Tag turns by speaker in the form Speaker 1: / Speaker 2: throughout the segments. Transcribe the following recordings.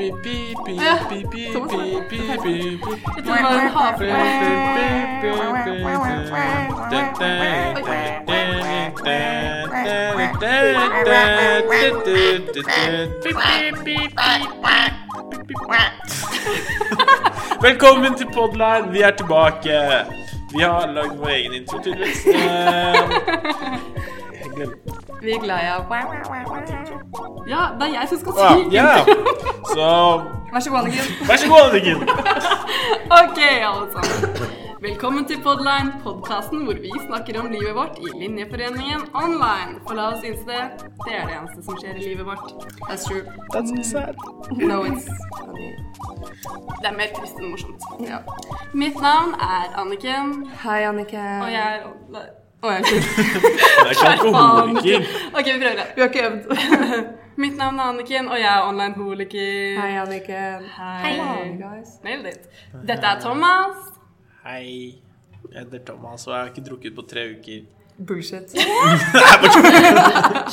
Speaker 1: Ja, Thomas. Jeg tror det var en
Speaker 2: Velkommen til Podline, vi er tilbake. Vi har lagd vår egen intro, tydeligvis. Eh, jeg glemte-
Speaker 1: Vi er glad i av Ja, det er jeg som skal
Speaker 2: Å,
Speaker 1: si
Speaker 2: Ah, Ja, Så
Speaker 1: Vær så god, Anniken.
Speaker 2: vær så god, Anniken.
Speaker 1: Ok, alle sammen. Velkommen til Podline, podkasten hvor vi snakker om livet vårt i Linjeforeningen online. Og la oss innse det, det er det eneste som skjer i livet vårt. That's true.
Speaker 2: That's so sad.
Speaker 1: No, it's funny. Det er mer trist enn morsomt. Ja. Mitt navn er Anniken,
Speaker 3: Hei, Annike.
Speaker 1: og jeg er Å, jeg er ikke
Speaker 2: Det er ikke alkoholiker.
Speaker 1: Ok, vi prøver det.
Speaker 3: Vi har ikke øvd.
Speaker 1: Mitt navn er Anniken, og jeg er online-holiker.
Speaker 3: Hei, Annike.
Speaker 1: Hei.
Speaker 3: Hey, guys.
Speaker 1: Nailed it. Dette er Thomas.
Speaker 2: Hei. Jeg heter Thomas, og jeg har ikke drukket på tre uker.
Speaker 3: Bullshit.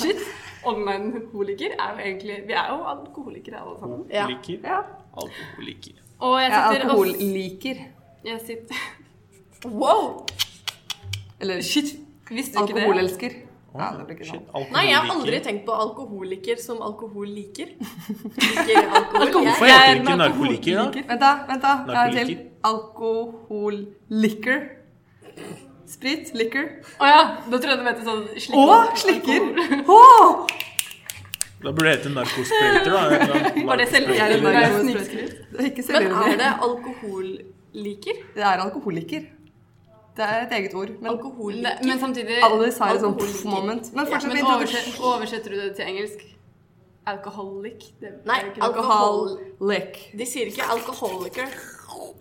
Speaker 1: Shit. Online-holiker er jo egentlig Vi er jo alkoholikere alle sammen.
Speaker 3: Ja.
Speaker 2: Liker.
Speaker 3: Ja.
Speaker 2: Alkoholiker.
Speaker 1: Og jeg
Speaker 3: Jeg er
Speaker 1: sitter og-
Speaker 3: alkoholliker.
Speaker 1: Jeg sitter
Speaker 3: Wow! Eller shit.
Speaker 1: Visste du ikke det?
Speaker 3: Alkoholelsker. Ja, det blir ikke
Speaker 2: Shit,
Speaker 3: sånn.
Speaker 4: Nei, jeg har aldri
Speaker 2: alkoholiker.
Speaker 4: tenkt på alkoholiker som alkohol liker. Liker alkohol.
Speaker 1: Alkohol-
Speaker 4: Jeg
Speaker 2: Hvorfor
Speaker 1: Jeg
Speaker 2: heter
Speaker 1: er
Speaker 2: det ikke
Speaker 1: en
Speaker 2: narkoliker, da?
Speaker 1: alkoholiker.
Speaker 3: Vent, da. vent da. Jeg har en til.
Speaker 2: Narkoliker.
Speaker 3: Alkoholliker. Sprit. Liquor.
Speaker 1: Å ja. Da trodde jeg du mente sånn slikker.
Speaker 3: Og slikker. Åh!
Speaker 2: Da burde det hete narkosprøyter, da. Eller
Speaker 1: Var det
Speaker 2: narkosprøyter.
Speaker 3: Jeg er en
Speaker 1: selvhjelp?
Speaker 3: narkoman.
Speaker 1: Nei, snikskryt.
Speaker 3: Det er ikke
Speaker 4: Men er
Speaker 3: selvironi.
Speaker 4: det alkohol liker?
Speaker 3: Det er alkoholiker. Det er et eget ord. Men
Speaker 4: Alkohol
Speaker 1: Ne,
Speaker 4: liker.
Speaker 1: Men samtidig
Speaker 3: alle sa det sånn
Speaker 4: Alkoholiker.
Speaker 3: pff moment. Men
Speaker 1: ja,
Speaker 3: fortsett
Speaker 1: men
Speaker 3: med
Speaker 1: overset,
Speaker 3: introduksjon.
Speaker 1: Oversetter du det til engelsk? Alkoholic? Det
Speaker 4: Nei,
Speaker 1: det er jo ikke noe-
Speaker 4: alkohol.
Speaker 3: Alkoholik.
Speaker 4: De sier ikke alkoholiker.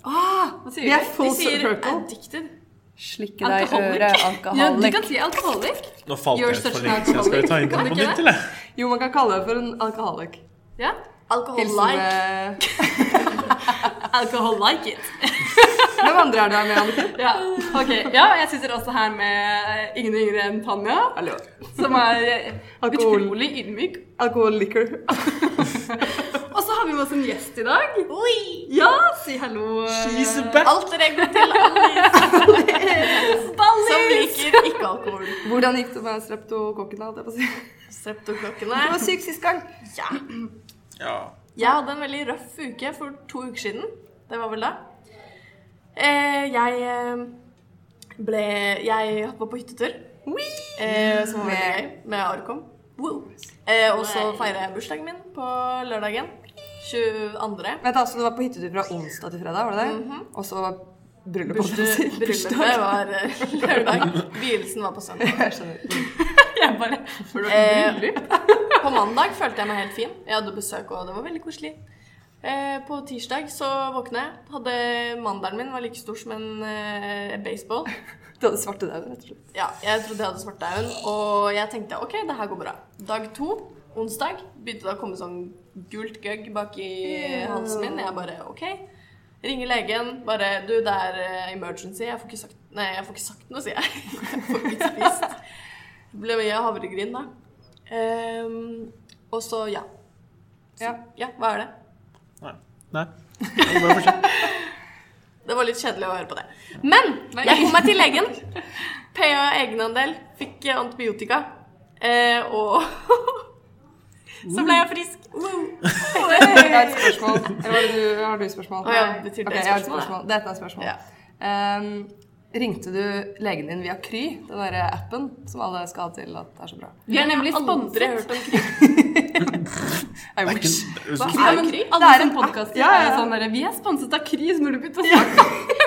Speaker 1: Hva
Speaker 3: Vi
Speaker 1: sier
Speaker 3: er
Speaker 1: du?
Speaker 4: De
Speaker 3: full
Speaker 4: sier
Speaker 3: circle.
Speaker 4: addicted.
Speaker 3: Slikke deg i
Speaker 1: Alkoholic?
Speaker 3: øret,
Speaker 1: Ja, du
Speaker 3: alkoholik.
Speaker 1: kan si alkoholic.
Speaker 2: Nå falt jeg
Speaker 1: You're
Speaker 2: ut for
Speaker 1: such
Speaker 2: lenge siden. Skal vi ta introen
Speaker 1: an
Speaker 2: på
Speaker 1: alcoholic,
Speaker 2: nytt, eller?
Speaker 3: Jo, man kan kalle det for en alkoholik.
Speaker 1: Ja.
Speaker 4: Alkohol
Speaker 3: Hilsen eh,
Speaker 4: like.
Speaker 3: med
Speaker 1: Alcohol like it.
Speaker 3: Hvem andre er det her med, Anniken?
Speaker 1: Ja, ok. Ja, jeg sitter også her med ingen yngre enn Tanja,
Speaker 3: Hallo.
Speaker 1: som er eh,
Speaker 3: Alkohol.
Speaker 1: utrolig ydmyk.
Speaker 3: Alkoholiker.
Speaker 1: Og så har vi med oss en gjest i dag.
Speaker 4: Oi!
Speaker 1: Ja, si hallo. eh,
Speaker 2: She's back.
Speaker 4: Alter ego til alle som
Speaker 1: Ballis!
Speaker 4: liker ikke alkohol.
Speaker 3: Hvordan gikk det med streptokokken? holdt jeg på å si? Du
Speaker 4: Streptoklokkene.
Speaker 3: var syk sist gang.
Speaker 4: Ja.
Speaker 2: Ja.
Speaker 4: Jeg hadde en veldig røff uke for to uker siden. Det var vel da. Eh, jeg eh, ble Jeg var på hyttetur. Eh, som var veldig gøy. Med Arkom. Wow. Eh, og så feirer jeg bursdagen min på lørdagen. 22.
Speaker 3: Vent, altså, du var på hyttetur fra onsdag til fredag, var det det? Og så bryllup. holdt jeg på å si.
Speaker 4: Bursdag- Bryllupet var eh, lørdag. Vielsen var på søndag.
Speaker 3: Jeg skjønner.
Speaker 1: Jeg bare For det var
Speaker 4: Eh,
Speaker 1: bryllup.
Speaker 4: På mandag følte jeg meg helt fin. Jeg hadde besøk, og det var veldig koselig. Eh, på tirsdag så våkna jeg. Hadde Mandelen min var like stor som en eh, baseball.
Speaker 3: Du hadde svarte dauden, rett og slett.
Speaker 4: Ja, jeg trodde jeg hadde svartdauden, og jeg tenkte ok, det her går bra. Dag to, onsdag, begynte det å komme sånn gult gøgg bak i halsen min. Jeg bare ok. Ringer legen, bare du, det er eh, emergency. Jeg får ikke sagt, nei, jeg får ikke sagt noe, sier jeg. Jeg får ikke spist. Det ble mye havregryn da. Ehm, og så ja.
Speaker 3: Ja.
Speaker 4: Ja, hva er det?
Speaker 2: Nei. Nei. Jeg bare fortsetter.
Speaker 4: Det var litt kjedelig å høre på det. Men jeg kom meg til legen. PA egenandel. Fikk eh, antibiotika. Eh, og så ble jeg frisk.
Speaker 3: Jeg har et spørsmål. Eller var det du, har du spørsmål?
Speaker 4: Å ja, betyr det
Speaker 3: Ok, jeg har et
Speaker 4: spørsmål,
Speaker 3: spørsmål. Dette er et spørsmål.
Speaker 4: Ja.
Speaker 3: Ehm, ringte du legen din via Kry, den derre appen som alle skal ha til at det er så bra?
Speaker 1: Vi er nemlig
Speaker 4: Jeg har aldri
Speaker 1: sponset.
Speaker 4: hørt om krig.
Speaker 3: I
Speaker 2: Det er
Speaker 3: wish.
Speaker 2: ikke-
Speaker 1: Ja, men
Speaker 4: Kry?
Speaker 1: alle
Speaker 3: Det er
Speaker 1: som
Speaker 3: en
Speaker 1: podkaster
Speaker 3: app. Ja, ja,
Speaker 1: er
Speaker 3: ja.
Speaker 1: sånn derre Vi er sponset av Kry, så når du begynte å snakke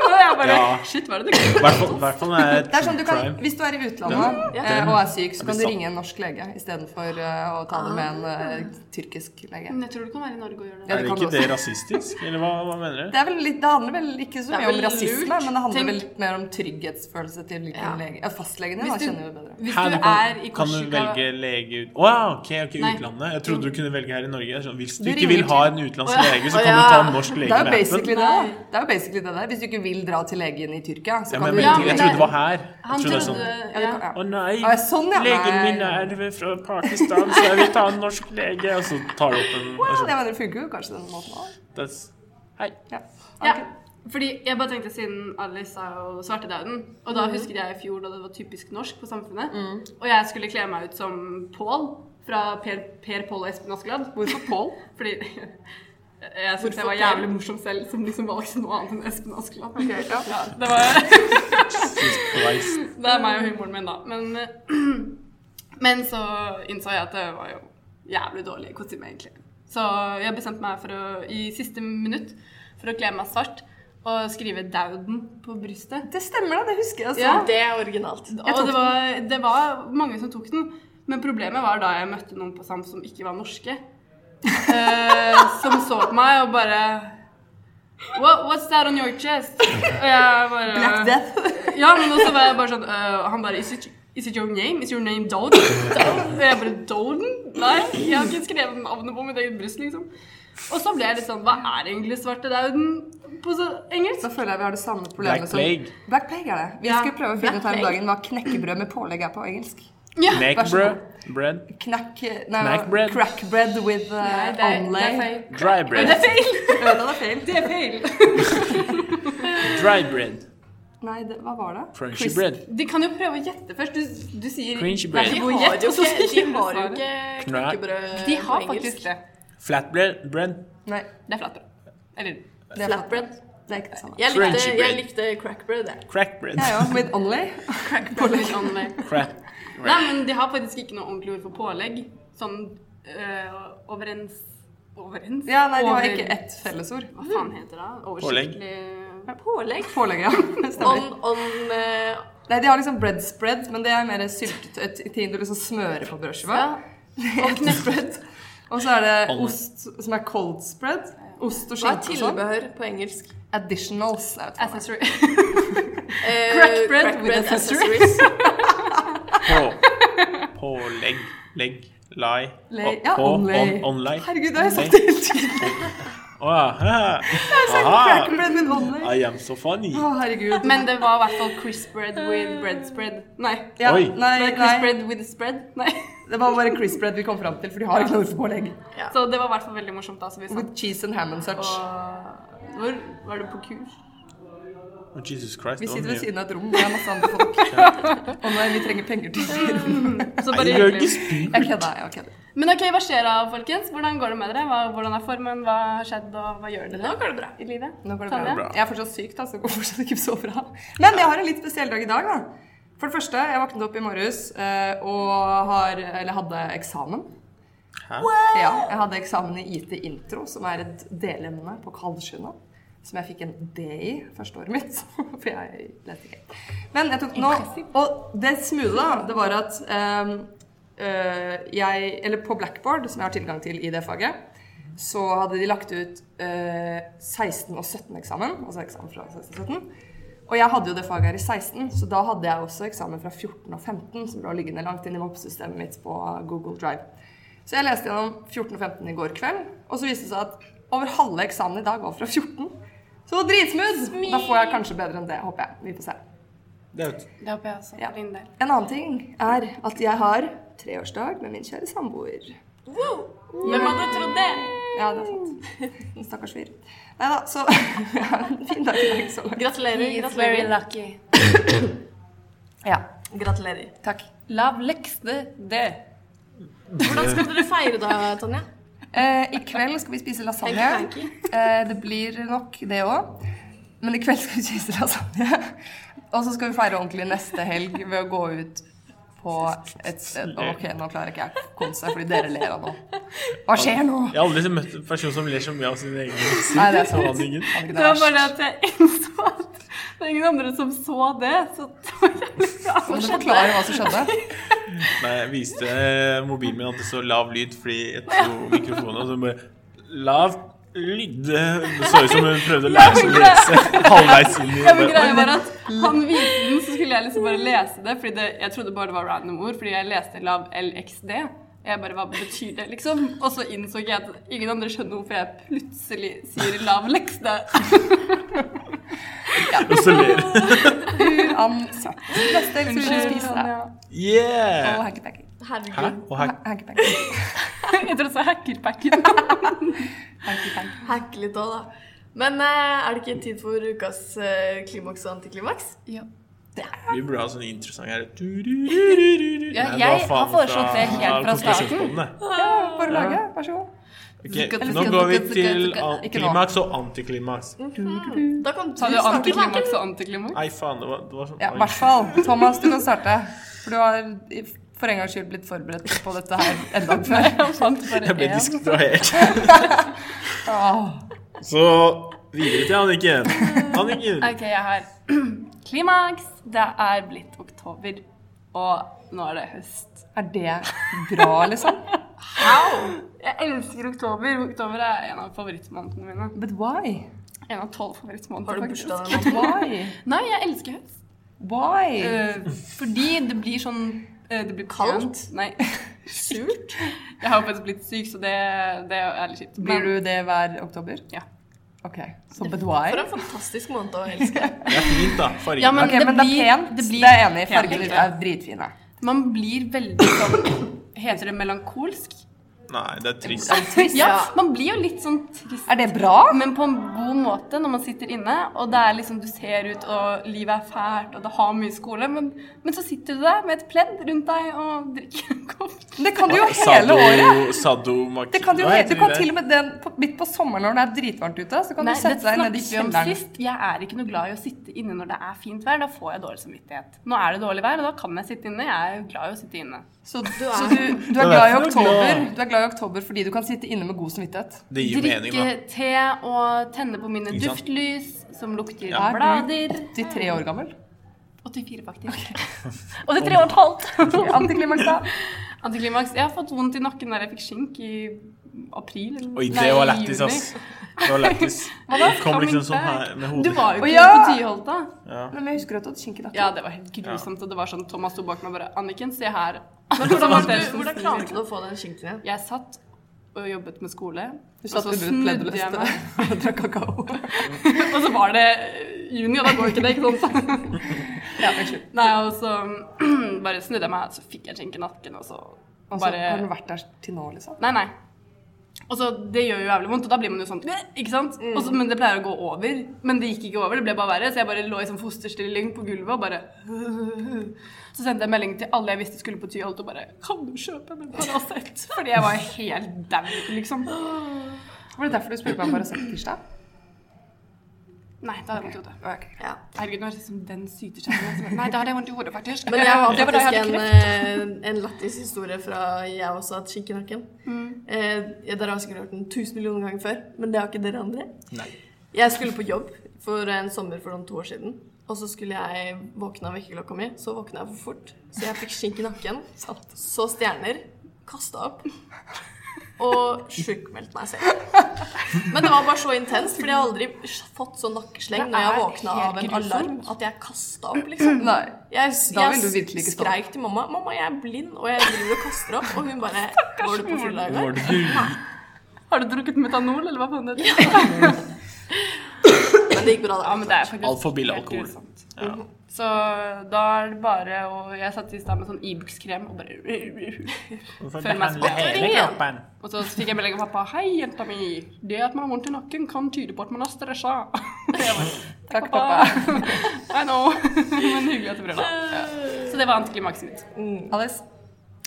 Speaker 1: Og jeg bare
Speaker 2: Ja.
Speaker 1: Shit, hva er det du gjør?
Speaker 2: I hvert fall- i hvert fall når jeg
Speaker 3: Det er sånn du
Speaker 2: true
Speaker 3: kan,
Speaker 2: crime.
Speaker 3: Hvis du er i utlandet
Speaker 2: Ja.
Speaker 3: eh, og er syk, så
Speaker 2: Jeg
Speaker 3: kan du
Speaker 2: blir
Speaker 3: ringe en norsk lege istedenfor uh, å tale med en
Speaker 4: Ah.
Speaker 3: eh, tyrkisk lege.
Speaker 1: Men jeg tror du kan være i Norge og gjøre det.
Speaker 3: Ja,
Speaker 2: Er
Speaker 3: det
Speaker 2: det
Speaker 3: kan
Speaker 2: ikke
Speaker 3: du
Speaker 2: det rasistisk? Eller hva, hva mener du?
Speaker 3: Det, er vel litt, det handler vel ikke så
Speaker 4: Det er
Speaker 3: mye om
Speaker 4: vel
Speaker 3: rasisme,
Speaker 4: lurt.
Speaker 3: men det handler
Speaker 1: Tenk-
Speaker 3: vel litt mer om trygghetsfølelse til hvilken
Speaker 4: Ja.
Speaker 3: lege. Ja, fastlegen din
Speaker 1: Hvis
Speaker 3: da
Speaker 1: du-
Speaker 3: kjenner jo bedre. Hvis
Speaker 2: Hæ,
Speaker 3: du
Speaker 2: du kan,
Speaker 3: er i
Speaker 2: kan du
Speaker 3: Korsika
Speaker 2: velge lege ut... Å ja, ok, ok,
Speaker 3: Nei.
Speaker 2: utlandet. Jeg trodde du kunne velge her i Norge. Jeg er Sånn, hvis du,
Speaker 3: Du
Speaker 2: ikke vil
Speaker 3: ringer
Speaker 2: ha en utenlandsk
Speaker 3: Å ja.
Speaker 2: lege, så
Speaker 4: Å
Speaker 2: kan
Speaker 4: ja.
Speaker 2: du ta en norsk
Speaker 3: Det
Speaker 2: lege
Speaker 3: er jo
Speaker 2: med appen.
Speaker 3: basically det. da. Det er jo basically det der. Hvis du ikke vil dra til legen i Tyrkia, så
Speaker 2: Ja,
Speaker 3: kan
Speaker 2: men,
Speaker 3: du
Speaker 2: jeg
Speaker 4: Ja,
Speaker 2: trodde-
Speaker 4: men
Speaker 2: jeg trodde
Speaker 4: det-
Speaker 2: det var her.
Speaker 4: Han
Speaker 2: Jeg trodde det var
Speaker 4: trodde-
Speaker 2: sånn.
Speaker 3: Ja, du kan- ja.
Speaker 2: Å nei,
Speaker 3: Å, ja, sånn, ja.
Speaker 2: legen
Speaker 3: Nei.
Speaker 2: min er fra Pakistan, så jeg vil ta en norsk lege. Og så tar du opp en og
Speaker 3: Jeg
Speaker 2: sånn,
Speaker 3: mener, det funker jo kanskje den måten òg.
Speaker 2: that's, Hei.
Speaker 3: Ja.
Speaker 1: Ja,
Speaker 3: Ok.
Speaker 1: fordi jeg bare tenkte siden Alice er jo svartedauden, og da husker jeg i fjor da det var typisk norsk på Samfunnet, og jeg skulle kle meg ut som Pål fra Per, per Pål og Espen Askeladd. Hvorfor Pål? Fordi jeg syntes jeg
Speaker 4: Hvorfor
Speaker 1: var
Speaker 4: Per?
Speaker 1: jævlig morsom selv som liksom valgte noe annet enn Espen Askeladd.
Speaker 3: ja.
Speaker 1: Det, var,
Speaker 2: Christ.
Speaker 1: det er meg og humoren min, da. Men, eh, men så innså jeg at det var jo jævlig dårlig kostyme, egentlig. Så jeg bestemte meg for å, i siste minutt for å kle meg svart og skrive 'Dauden' på brystet.
Speaker 3: Det stemmer, da. Det husker jeg. Altså.
Speaker 1: Ja.
Speaker 4: Det er originalt.
Speaker 1: Og det var, det var mange som tok den. Men problemet var da jeg møtte noen på SAM som ikke var norske. Eh, som så på meg og bare What, What's that on your chest? Og jeg bare
Speaker 3: Black Death.
Speaker 1: Ja, men også var jeg bare sånn eh, Han bare is it, is it your name? Is your name Doden? Doden? Og jeg bare Doden? Nei, jeg har ikke skrevet navnet på mitt eget bryst, liksom. Og så ble jeg litt sånn Hva er egentlig svartedauden på så engelsk?
Speaker 3: Da føler jeg vi har det samme problemet
Speaker 2: Black Plague.
Speaker 3: som Black Plague er det. Vi
Speaker 1: Ja.
Speaker 3: skulle prøve å finne
Speaker 4: Black
Speaker 3: ut her om
Speaker 4: Plague.
Speaker 3: dagen hva knekkebrød med pålegg er på engelsk.
Speaker 1: Ja.
Speaker 2: Neck
Speaker 3: Vær så
Speaker 2: bread,
Speaker 3: god.
Speaker 2: bread,
Speaker 3: Knekk... Nei,
Speaker 2: Knackbread.
Speaker 3: crackbread with uh,
Speaker 1: Nei, det er, det er
Speaker 3: onlay.
Speaker 1: feil.
Speaker 2: dry
Speaker 1: Nei,
Speaker 2: bread,
Speaker 1: Det er feil!
Speaker 3: Ja, det er feil.
Speaker 1: Det er feil.
Speaker 2: dry bread,
Speaker 3: Nei, det, hva var det?
Speaker 2: crunchy
Speaker 3: Crisp-
Speaker 2: bread,
Speaker 1: De kan jo prøve å gjette først. Du, du sier
Speaker 2: Cringe
Speaker 1: Nei,
Speaker 2: bread.
Speaker 1: de
Speaker 4: De
Speaker 1: går
Speaker 4: har
Speaker 1: gjett,
Speaker 4: jo
Speaker 1: og så
Speaker 4: ikke, de
Speaker 1: sier du
Speaker 4: har jo
Speaker 1: svaret.
Speaker 4: ikke knekkebrød
Speaker 1: De har
Speaker 4: på
Speaker 1: faktisk
Speaker 4: engelsk.
Speaker 1: det.
Speaker 2: flat bread, bread,
Speaker 3: Nei,
Speaker 1: Det er flatbrød. Eller
Speaker 3: det er flatbread.
Speaker 4: Flatbread.
Speaker 3: Det er ikke det samme.
Speaker 4: Jeg
Speaker 2: Crunchy
Speaker 4: likte, jeg
Speaker 2: bread.
Speaker 4: likte crackbread, jeg.
Speaker 2: crack bread,
Speaker 3: Ja, ja, with onlay.
Speaker 1: pålegg. Nei,
Speaker 2: crap.
Speaker 1: men de har faktisk ikke noe ordentlig ord for pålegg. Sånn øh, overens Overens?
Speaker 3: Ja, nei, de har
Speaker 1: Over-
Speaker 3: ikke ett fellesord.
Speaker 1: Hva faen heter det?
Speaker 2: Pålegg.
Speaker 1: Oversiktlig
Speaker 4: Pålegg.
Speaker 3: Pålegg, ja. Stemmer.
Speaker 4: On, on eh,
Speaker 3: Nei, de har liksom bread spread, men det er mer syltetøy, ting du liksom smører på brødskiva.
Speaker 4: Ja.
Speaker 3: Og knekkebrød. Og så er det
Speaker 2: Alle.
Speaker 3: ost som er cold spread. Ost og
Speaker 4: Hva er
Speaker 3: skinke og sånn.
Speaker 4: tilbehør på engelsk?
Speaker 3: Additionals. Jeg vet ikke hva det
Speaker 1: accessory.
Speaker 4: Eh,
Speaker 3: Crackbread with accessories.
Speaker 2: På, pålegg, legg, lai,
Speaker 3: er. Le-
Speaker 2: på,
Speaker 3: Ja,
Speaker 2: på,
Speaker 3: onlay.
Speaker 2: on, onlay.
Speaker 3: Herregud, det har jeg sagt det hele tiden.
Speaker 2: Aha.
Speaker 3: Cracker
Speaker 2: Aha.
Speaker 3: bread with onlay.
Speaker 2: I am so funny.
Speaker 3: Å, herregud.
Speaker 1: Men det var i hvert fall crisp bread with bread spread. Nei.
Speaker 3: Ja,
Speaker 2: Oi.
Speaker 3: nei,
Speaker 1: Nei,
Speaker 3: nei.
Speaker 1: crisp bread with spread. Nei.
Speaker 3: Det var bare crisp bread vi kom fram til, for de har ikke noe for pålegg.
Speaker 1: Så det var i hvert fall veldig morsomt. da, så vi satt
Speaker 3: With cheese and ham and such.
Speaker 1: og Hvor var du på kurs?
Speaker 2: Oh, Jesus Christ.
Speaker 3: Vi
Speaker 2: det var
Speaker 3: sitter
Speaker 2: mye.
Speaker 3: ved siden av et rom, det er masse andre folk. Og nei, vi trenger penger til
Speaker 1: Så
Speaker 2: Nei,
Speaker 1: bare
Speaker 2: vi har ikke
Speaker 1: hyggelig.
Speaker 2: spydd.
Speaker 3: Jeg kødder, jeg kødder.
Speaker 1: Men ok, hva skjer da, folkens? Hvordan går det med dere? Hva, hvordan er formen? Hva har skjedd, og hva gjør dere
Speaker 4: Nå går det bra.
Speaker 1: i livet?
Speaker 3: Nå går det bra.
Speaker 1: Tanja?
Speaker 2: Bra.
Speaker 3: Jeg er fortsatt syk, da, så det går fortsatt ikke så bra. Men jeg har en litt spesiell dag i dag, da. For det første, jeg våknet opp i morges eh, og har, eller hadde eksamen.
Speaker 2: Hæ?
Speaker 3: Ja, jeg hadde eksamen i IT Intro, som er et delemne på Kalsjøna. Som jeg fikk en D i første året mitt. For jeg leste ikke. Men jeg tok den nå. Og det smoothie, da, det var at ehm, øh, jeg Eller på Blackboard, som jeg har tilgang til i det faget, så hadde de lagt ut øh, 16- og 17-eksamen. Altså eksamen fra 16 og 17. Og jeg hadde jo det faget her i 16, så da hadde jeg også eksamen fra 14 og 15, som lå liggende langt inn i mobbesystemet mitt på Google Drive. Så jeg leste gjennom 14 og 15 i går kveld, og så viste det seg at over halve eksamen i dag var fra 14. Så dritsmooth! Da får jeg kanskje bedre enn det, håper jeg. Vi får se.
Speaker 2: Det er jo-
Speaker 1: Det håper jeg også.
Speaker 3: Ja.
Speaker 1: for din del.
Speaker 3: En annen ting er at jeg har treårsdag med min kjære samboer.
Speaker 4: Hvem hadde trodd det?
Speaker 3: Ja, det er sant. Stakkars fyr. Nei da, så jeg har en fin dag i dag så langt.
Speaker 4: Gratulerer. Gratulerer.
Speaker 5: lucky.
Speaker 3: Ja.
Speaker 4: gratulerer.
Speaker 3: Takk.
Speaker 5: Lavligste det.
Speaker 4: Hvordan skal dere feire da, Tonje?
Speaker 3: Eh, I kveld skal vi spise lasagne.
Speaker 4: Hanky,
Speaker 3: Eh, det blir nok det òg. Men i kveld skal vi spise lasagne. Og så skal vi feire ordentlig neste helg ved å gå ut på et Å, Ok, nå klarer ikke jeg å komme seg, fordi dere ler av nå. Hva skjer nå?
Speaker 2: Jeg har aldri møtt en person som ler så mye av sine egne vitser.
Speaker 3: Nei, det er sant.
Speaker 2: Forhandlingen.
Speaker 3: Hadde ikke
Speaker 1: Det var
Speaker 3: det
Speaker 1: bare
Speaker 3: vært.
Speaker 1: at jeg innså at det er ingen andre som så det. Så det var jævlig bra.
Speaker 3: Kan du forklare hva som skjedde?
Speaker 2: Nei, jeg viste eh, mobilen min at det så lav lyd fordi jeg tok mikrofonen, og så bare Lav lyd. Det så ut som hun prøvde å lære seg å lese halvveis inn i
Speaker 1: Ja, men greia var at han viste den, så skulle skulle jeg liksom bare lese det, fordi det, jeg trodde bare det var random ord, fordi jeg leste lav LXD. Og jeg bare, hva betyr det, liksom? Og så innså jeg at ingen andre skjønner hvorfor jeg plutselig sier lav LXD.
Speaker 2: Og så ler du.
Speaker 3: Uansett. Neste vil du
Speaker 1: Unnskyld,
Speaker 3: spise deg. Og
Speaker 2: Yeah!
Speaker 3: hackepacker.
Speaker 2: Hæ?
Speaker 4: Herregud.
Speaker 2: Og her,
Speaker 3: Hackepacker.
Speaker 1: Jeg tror også hackerpacken.
Speaker 3: Hackepacker.
Speaker 4: Hack litt òg, da. Men eh, er det ikke tid for ukas eh, klimaks og antiklimaks?
Speaker 2: vi burde ha sånn interessant her Du, du, du, du, du, du.
Speaker 5: Ja,
Speaker 2: Nei,
Speaker 5: jeg
Speaker 2: hva faen
Speaker 5: har foreslått det helt
Speaker 2: Ja,
Speaker 5: fra starten.
Speaker 2: konspirasjonspodden, det.
Speaker 3: Ja, bare lage. Vær så god.
Speaker 2: Ok,
Speaker 5: Skal-
Speaker 2: nå
Speaker 5: skal-
Speaker 2: går vi
Speaker 5: skal-
Speaker 2: til
Speaker 5: skal-
Speaker 2: an-
Speaker 5: ikke nå.
Speaker 2: klimaks og antiklimaks.
Speaker 4: Da kan du
Speaker 1: Sa du
Speaker 4: snakke, da.
Speaker 1: antiklimaks og antiklimaks?
Speaker 2: Nei, faen, det var, det var sånn
Speaker 3: Ja, i hvert fall. Thomas, du kan starte. For du har i- for en gangs skyld blitt forberedt på dette her en dag før.
Speaker 2: Jeg ble distrahert.
Speaker 3: Åh.
Speaker 2: Så videre til Anniken. Anniken.
Speaker 1: Ok, jeg har klimaks. Det er blitt oktober, og nå er det høst.
Speaker 3: Er det bra, liksom?
Speaker 1: Jeg elsker oktober. Oktober er en av favorittmånedene mine.
Speaker 3: But why?
Speaker 1: En av tolv favorittmåneder,
Speaker 4: Har du
Speaker 1: faktisk.
Speaker 4: bursdag den
Speaker 3: Why?
Speaker 1: Nei, jeg elsker høst.
Speaker 3: Why?
Speaker 1: Eh, fordi det blir sånn eh, Det blir kaldt. Nei, surt. Jeg har jo faktisk blitt syk, så det, det er litt kjipt.
Speaker 3: Blir du det hver oktober?
Speaker 1: Ja.
Speaker 3: Ok, så but why?
Speaker 4: For en fantastisk måned å elske.
Speaker 2: Det er fint, da. Fargen.
Speaker 1: Ja, men-
Speaker 3: Ok, men det er
Speaker 1: blir-
Speaker 3: pent.
Speaker 1: det
Speaker 3: Det,
Speaker 1: blir
Speaker 3: er jeg enig i.
Speaker 1: pent,
Speaker 3: Farger
Speaker 1: ikke?
Speaker 3: er dritfine.
Speaker 1: Man blir veldig sånn Heter det melankolsk?
Speaker 2: Nei, det er trist.
Speaker 1: Ja, man blir jo litt sånn trist.
Speaker 3: Er det bra?
Speaker 1: Men på en god måte når man sitter inne, og det er liksom, du ser ut, og livet er fælt, og det har mye skole, men, men så sitter du der med et pledd rundt deg og drikker en kopp.
Speaker 3: Det kan du jo hele året.
Speaker 2: Sadomaki.
Speaker 3: Det kan du jo
Speaker 2: Hva
Speaker 3: he-
Speaker 2: heter
Speaker 3: du kan
Speaker 2: det?
Speaker 3: til og med den, på, midt på sommeren når det er dritvarmt ute, så kan
Speaker 1: Nei,
Speaker 3: du
Speaker 1: det
Speaker 3: sette deg ned i
Speaker 1: snakket vi om
Speaker 3: kjelleren.
Speaker 1: sist. Jeg er ikke noe glad i å sitte inne når det er fint vær. Da får jeg dårlig samvittighet. Nå er det dårlig vær, og da kan jeg sitte inne. Jeg er jo glad i å sitte inne.
Speaker 3: Så,
Speaker 4: Du er-
Speaker 3: så du, du
Speaker 2: er
Speaker 3: er glad
Speaker 2: derfor
Speaker 3: i
Speaker 2: du er
Speaker 3: oktober
Speaker 2: glad.
Speaker 3: Du er glad i oktober fordi du kan sitte inne med god samvittighet.
Speaker 2: Det gir mening,
Speaker 1: Drikke
Speaker 2: da.
Speaker 1: te og tenne på mine
Speaker 2: Ikke sant?
Speaker 1: duftlys som lukter
Speaker 2: Ja.
Speaker 1: blader.
Speaker 3: 83 år gammel.
Speaker 1: 84, faktisk. Og det er tre og et halvt.
Speaker 3: Antiklimaks, da.
Speaker 1: Antiklimaks. Jeg har fått vondt i nakken der jeg fikk skink i april. eller-
Speaker 2: Oi,
Speaker 1: Nei,
Speaker 2: det var
Speaker 1: i
Speaker 2: lættis,
Speaker 1: juni.
Speaker 2: ass. Det var lættis.
Speaker 1: Hva da?
Speaker 2: Det kom
Speaker 1: Coming
Speaker 2: liksom sånn
Speaker 1: back.
Speaker 2: her med
Speaker 1: Du
Speaker 2: hodet.
Speaker 1: var jo
Speaker 3: Å,
Speaker 1: ikke
Speaker 3: ja!
Speaker 1: på Tyholta.
Speaker 2: Ja.
Speaker 3: Men jeg husker at du hadde skink i nakken.
Speaker 1: Ja, det var helt grusomt. Og det var sånn Thomas sto bak meg og bare Anniken, se her.
Speaker 4: Men hvordan, var det du, hvordan klarte du å få den skinken igjen?
Speaker 1: Jeg satt og jobbet med skole.
Speaker 3: Du satt
Speaker 1: og så
Speaker 3: under et pledd og
Speaker 1: snudde jeg
Speaker 3: leste
Speaker 1: meg.
Speaker 3: og drakk kakao.
Speaker 1: Og så var det juni, og da går ikke det, ikke sant?
Speaker 3: Ja, unnskyld.
Speaker 1: Nei, og så bare snudde jeg meg, og så fikk jeg skjenk i nakken, og så
Speaker 3: Og så
Speaker 1: bare
Speaker 3: Altså, har den vært der til nå, liksom.
Speaker 1: Nei, nei. Og så, Det gjør jo jævlig vondt, og da blir man jo sånn «Bæ», ikke sant? Og så- men det pleier å gå over. Men det gikk ikke over, det ble bare verre. Så jeg bare lå i sånn fosterstilling på gulvet og bare Så sendte jeg melding til alle jeg visste skulle på Tyholt og bare Kan du kjøpe meg Paracet? Fordi jeg var helt dau, liksom.
Speaker 3: Var det derfor du spurte meg om Paracet tirsdag?
Speaker 1: Nei, da hadde jeg vondt i hodet.
Speaker 3: Ok.
Speaker 4: Ja.
Speaker 1: Herregud, nå er det liksom den syter seg. som er- Nei, da hadde jeg vondt i hodet, faktisk.
Speaker 4: Men jeg har
Speaker 1: Det var da jeg
Speaker 4: faktisk
Speaker 1: hadde
Speaker 4: en,
Speaker 1: kreft.
Speaker 4: eh, en lættis historie fra jeg også hatt skink i nakken. Eh, ja, dere har sikkert hørt den tusen millioner ganger før, men det har ikke dere andre.
Speaker 2: Nei.
Speaker 4: Jeg skulle på jobb for en sommer for noen to år siden. Og så skulle jeg våkne av vekkerklokka mi, så våkna jeg for fort. Så jeg fikk skink i nakken, så stjerner, kasta opp og sjukmeldt meg selv. Men det var bare så intenst, fordi jeg har aldri fått så nakkesleng når jeg våkna av en alarm at jeg kasta opp, liksom.
Speaker 3: Nei.
Speaker 4: Jeg,
Speaker 3: Da
Speaker 4: jeg
Speaker 3: vil du virkelig ikke stå.
Speaker 4: skreik til mamma 'Mamma, jeg er blind, og jeg driver og kaster opp.' Og hun bare 'Var du på fylla i
Speaker 2: Var
Speaker 4: går?'
Speaker 2: det du?
Speaker 1: Har du drukket metanol, eller hva faen det heter?
Speaker 4: Men det gikk bra, da.
Speaker 1: Ja, men det er faktisk
Speaker 2: Alt for billig
Speaker 1: helt
Speaker 2: alkohol.
Speaker 1: grusomt.
Speaker 2: Ja.
Speaker 1: Så da er det bare å Jeg satt i stad med sånn Ibux-krem og bare Føler meg som
Speaker 2: Hele kroppen.
Speaker 1: Og så fikk jeg melding av pappa. 'Hei, jenta mi. Det at man har vondt i nakken, kan tyde på at man er stressa.' Og jeg bare,
Speaker 3: Takk, pappa.
Speaker 1: I know. Men hyggelig at du prøvde. Ja. Så det var antiklimakset mitt.
Speaker 3: Alice.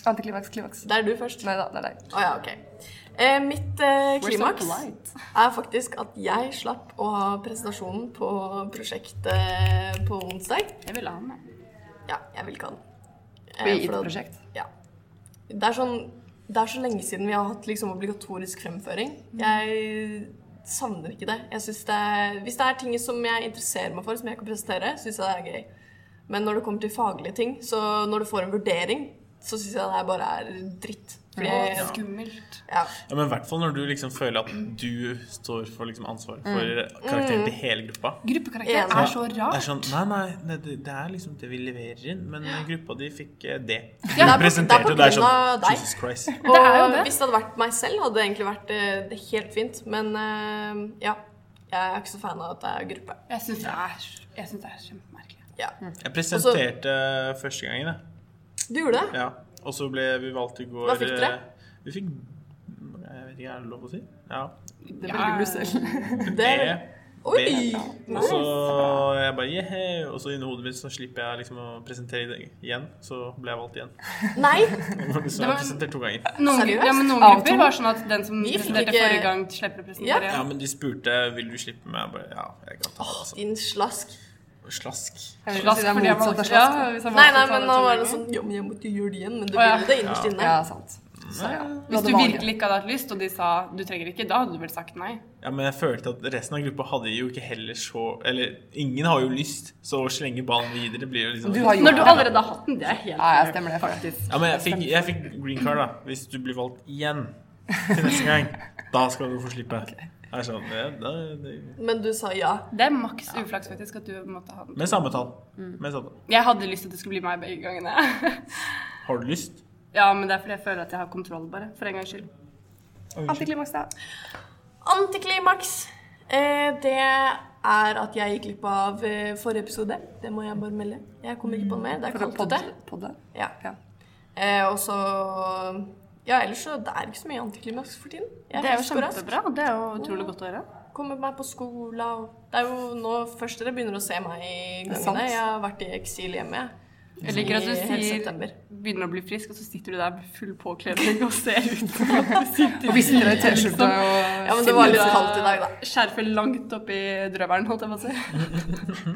Speaker 3: Antiklimaks, klimaks.
Speaker 4: Det er du først.
Speaker 3: Nei da, det er deg.
Speaker 4: Å ja, ok. Eh, mitt eh,
Speaker 1: so
Speaker 4: klimaks
Speaker 1: polite.
Speaker 4: er faktisk at jeg slapp å ha presentasjonen på prosjektet eh, på onsdag.
Speaker 1: Jeg ville ha den, jeg.
Speaker 4: Ja, jeg vil ikke ha den. Eh,
Speaker 3: Vi gir
Speaker 4: for da-
Speaker 3: et prosjekt.
Speaker 4: Ja. Det er, sånn, det er så lenge siden vi har hatt liksom obligatorisk fremføring.
Speaker 5: Mm.
Speaker 4: Jeg savner ikke det. Jeg synes det er, hvis det er ting som jeg interesserer meg for, som jeg kan presentere, syns jeg det er gøy. Men når det kommer til faglige ting, så når du får en vurdering, så syns jeg det her bare er dritt.
Speaker 1: Eh,
Speaker 4: Fordi,
Speaker 5: Og skummelt.
Speaker 4: ja.
Speaker 2: Ja, men i hvert fall når du liksom føler at du står for liksom ansvaret
Speaker 4: Mm.
Speaker 2: for karakteren til hele gruppa.
Speaker 5: Gruppekarakter
Speaker 4: Ja.
Speaker 5: er så
Speaker 2: Det er
Speaker 5: rart.
Speaker 2: sånn, nei, nei, det- det, det er liksom det vi leverer inn, men gruppa di fikk eh, det. Du
Speaker 4: det er på-
Speaker 2: presenterte,
Speaker 4: det er på
Speaker 2: det er
Speaker 4: grunn av
Speaker 2: sånn
Speaker 4: deg.
Speaker 2: Jesus Christ.
Speaker 4: Og
Speaker 5: Det er jo det.
Speaker 4: hvis det hadde vært meg selv, hadde det egentlig vært eh, det helt fint. Men eh, ja, jeg er ikke så fan av at det er gruppe.
Speaker 5: Jeg syns det er, jeg synes det er kjempemerkelig.
Speaker 4: Ja.
Speaker 2: Jeg presenterte eh, første gangen, jeg.
Speaker 4: Du gjorde det?
Speaker 2: Ja. Og så ble vi valgt i går
Speaker 4: Hva fikk dere?
Speaker 2: eh, Vi fikk Jeg vet ikke, er det lov å si? Ja.
Speaker 3: Det velger du selv.
Speaker 4: Det, oi!
Speaker 2: det. Og så jeg bare yeah, Og så inni hodet mitt så slipper jeg liksom å presentere det igjen. Så ble jeg valgt igjen.
Speaker 4: Nei!
Speaker 2: Så jeg presenterte to ganger.
Speaker 1: Noen,
Speaker 4: Seriøst?
Speaker 1: grupper- ja, men noen
Speaker 5: Av to?
Speaker 1: grupper var sånn at den som
Speaker 4: Vi fikk
Speaker 1: presenterte
Speaker 4: ikke-
Speaker 1: forrige gang, slipper å
Speaker 4: Ja.
Speaker 1: presentere.
Speaker 2: Ja, men de spurte vil du slippe meg. Jeg bare ja, jeg kan ta det. Altså.
Speaker 4: Din slask.
Speaker 2: Slask.
Speaker 3: Jeg vil
Speaker 1: Slask,
Speaker 3: si det er
Speaker 1: fordi jeg
Speaker 3: motsatt
Speaker 1: var-
Speaker 3: av slask.
Speaker 1: Ja, hvis jeg var
Speaker 4: Nei, nei,
Speaker 1: motsatt av
Speaker 4: men
Speaker 1: det
Speaker 4: nå
Speaker 1: så
Speaker 4: var
Speaker 1: lenge.
Speaker 4: det sånn Jo, men jeg måtte gjøre det igjen. Men du
Speaker 1: Å, ja.
Speaker 4: ville det innerst inne.
Speaker 3: Ja, sant. Så, ja.
Speaker 1: Hvis du
Speaker 3: det valget.
Speaker 1: virkelig ikke hadde hatt lyst, og de sa du trenger ikke, da hadde du vel sagt nei.
Speaker 2: Ja, men jeg følte at resten av gruppa hadde jo ikke heller så Eller ingen har jo lyst, så å slenge ballen videre blir jo liksom
Speaker 3: Du har gjort
Speaker 1: Når du
Speaker 3: det.
Speaker 1: allerede har hatt den, det er helt
Speaker 3: Ja, ja, stemmer det. faktisk.
Speaker 2: Ja, men jeg fikk, jeg fikk green card, da. Hvis du blir valgt igjen til neste gang, da skal du få slippe. Det er sånn, det, det, det.
Speaker 4: Men du sa ja.
Speaker 1: Det er maks uflaks faktisk at du måtte ha den.
Speaker 2: Med samme tall. Med samme tall.
Speaker 1: Jeg hadde lyst til at det skulle bli meg begge gangene.
Speaker 2: Har du lyst?
Speaker 1: ja, men det er fordi jeg føler at jeg har kontroll, bare. For en gangs skyld.
Speaker 3: Antiklimaks, da.
Speaker 4: Antiklimaks. Eh, det er at jeg gikk glipp av eh, forrige episode. Det må jeg bare melde. Jeg kommer ikke på noe mer. Det er kaldt ute.
Speaker 3: Podde. Podde.
Speaker 4: Ja.
Speaker 3: Ja.
Speaker 4: Eh, og så Ja, ellers så det er ikke så mye antiklimaks for tiden. Jeg
Speaker 1: Det er jo
Speaker 4: husker raskt.
Speaker 1: kjempebra. Det er jo utrolig godt å høre.
Speaker 4: Kommer meg på skolen og Det er jo nå først dere begynner å se meg i
Speaker 3: er sant.
Speaker 4: gangene. Jeg har vært i eksil hjemme.
Speaker 1: Jeg liker at du
Speaker 4: I hele
Speaker 1: sier
Speaker 4: september.
Speaker 1: begynner å bli frisk, og så sitter du der med full påkledning og ser ut som at du sitter liksom
Speaker 3: Og visste i T-skjorte og
Speaker 4: Ja, men det var litt kaldt i dag, da.
Speaker 1: Skjerfet langt oppi drøvelen, holdt jeg på å si.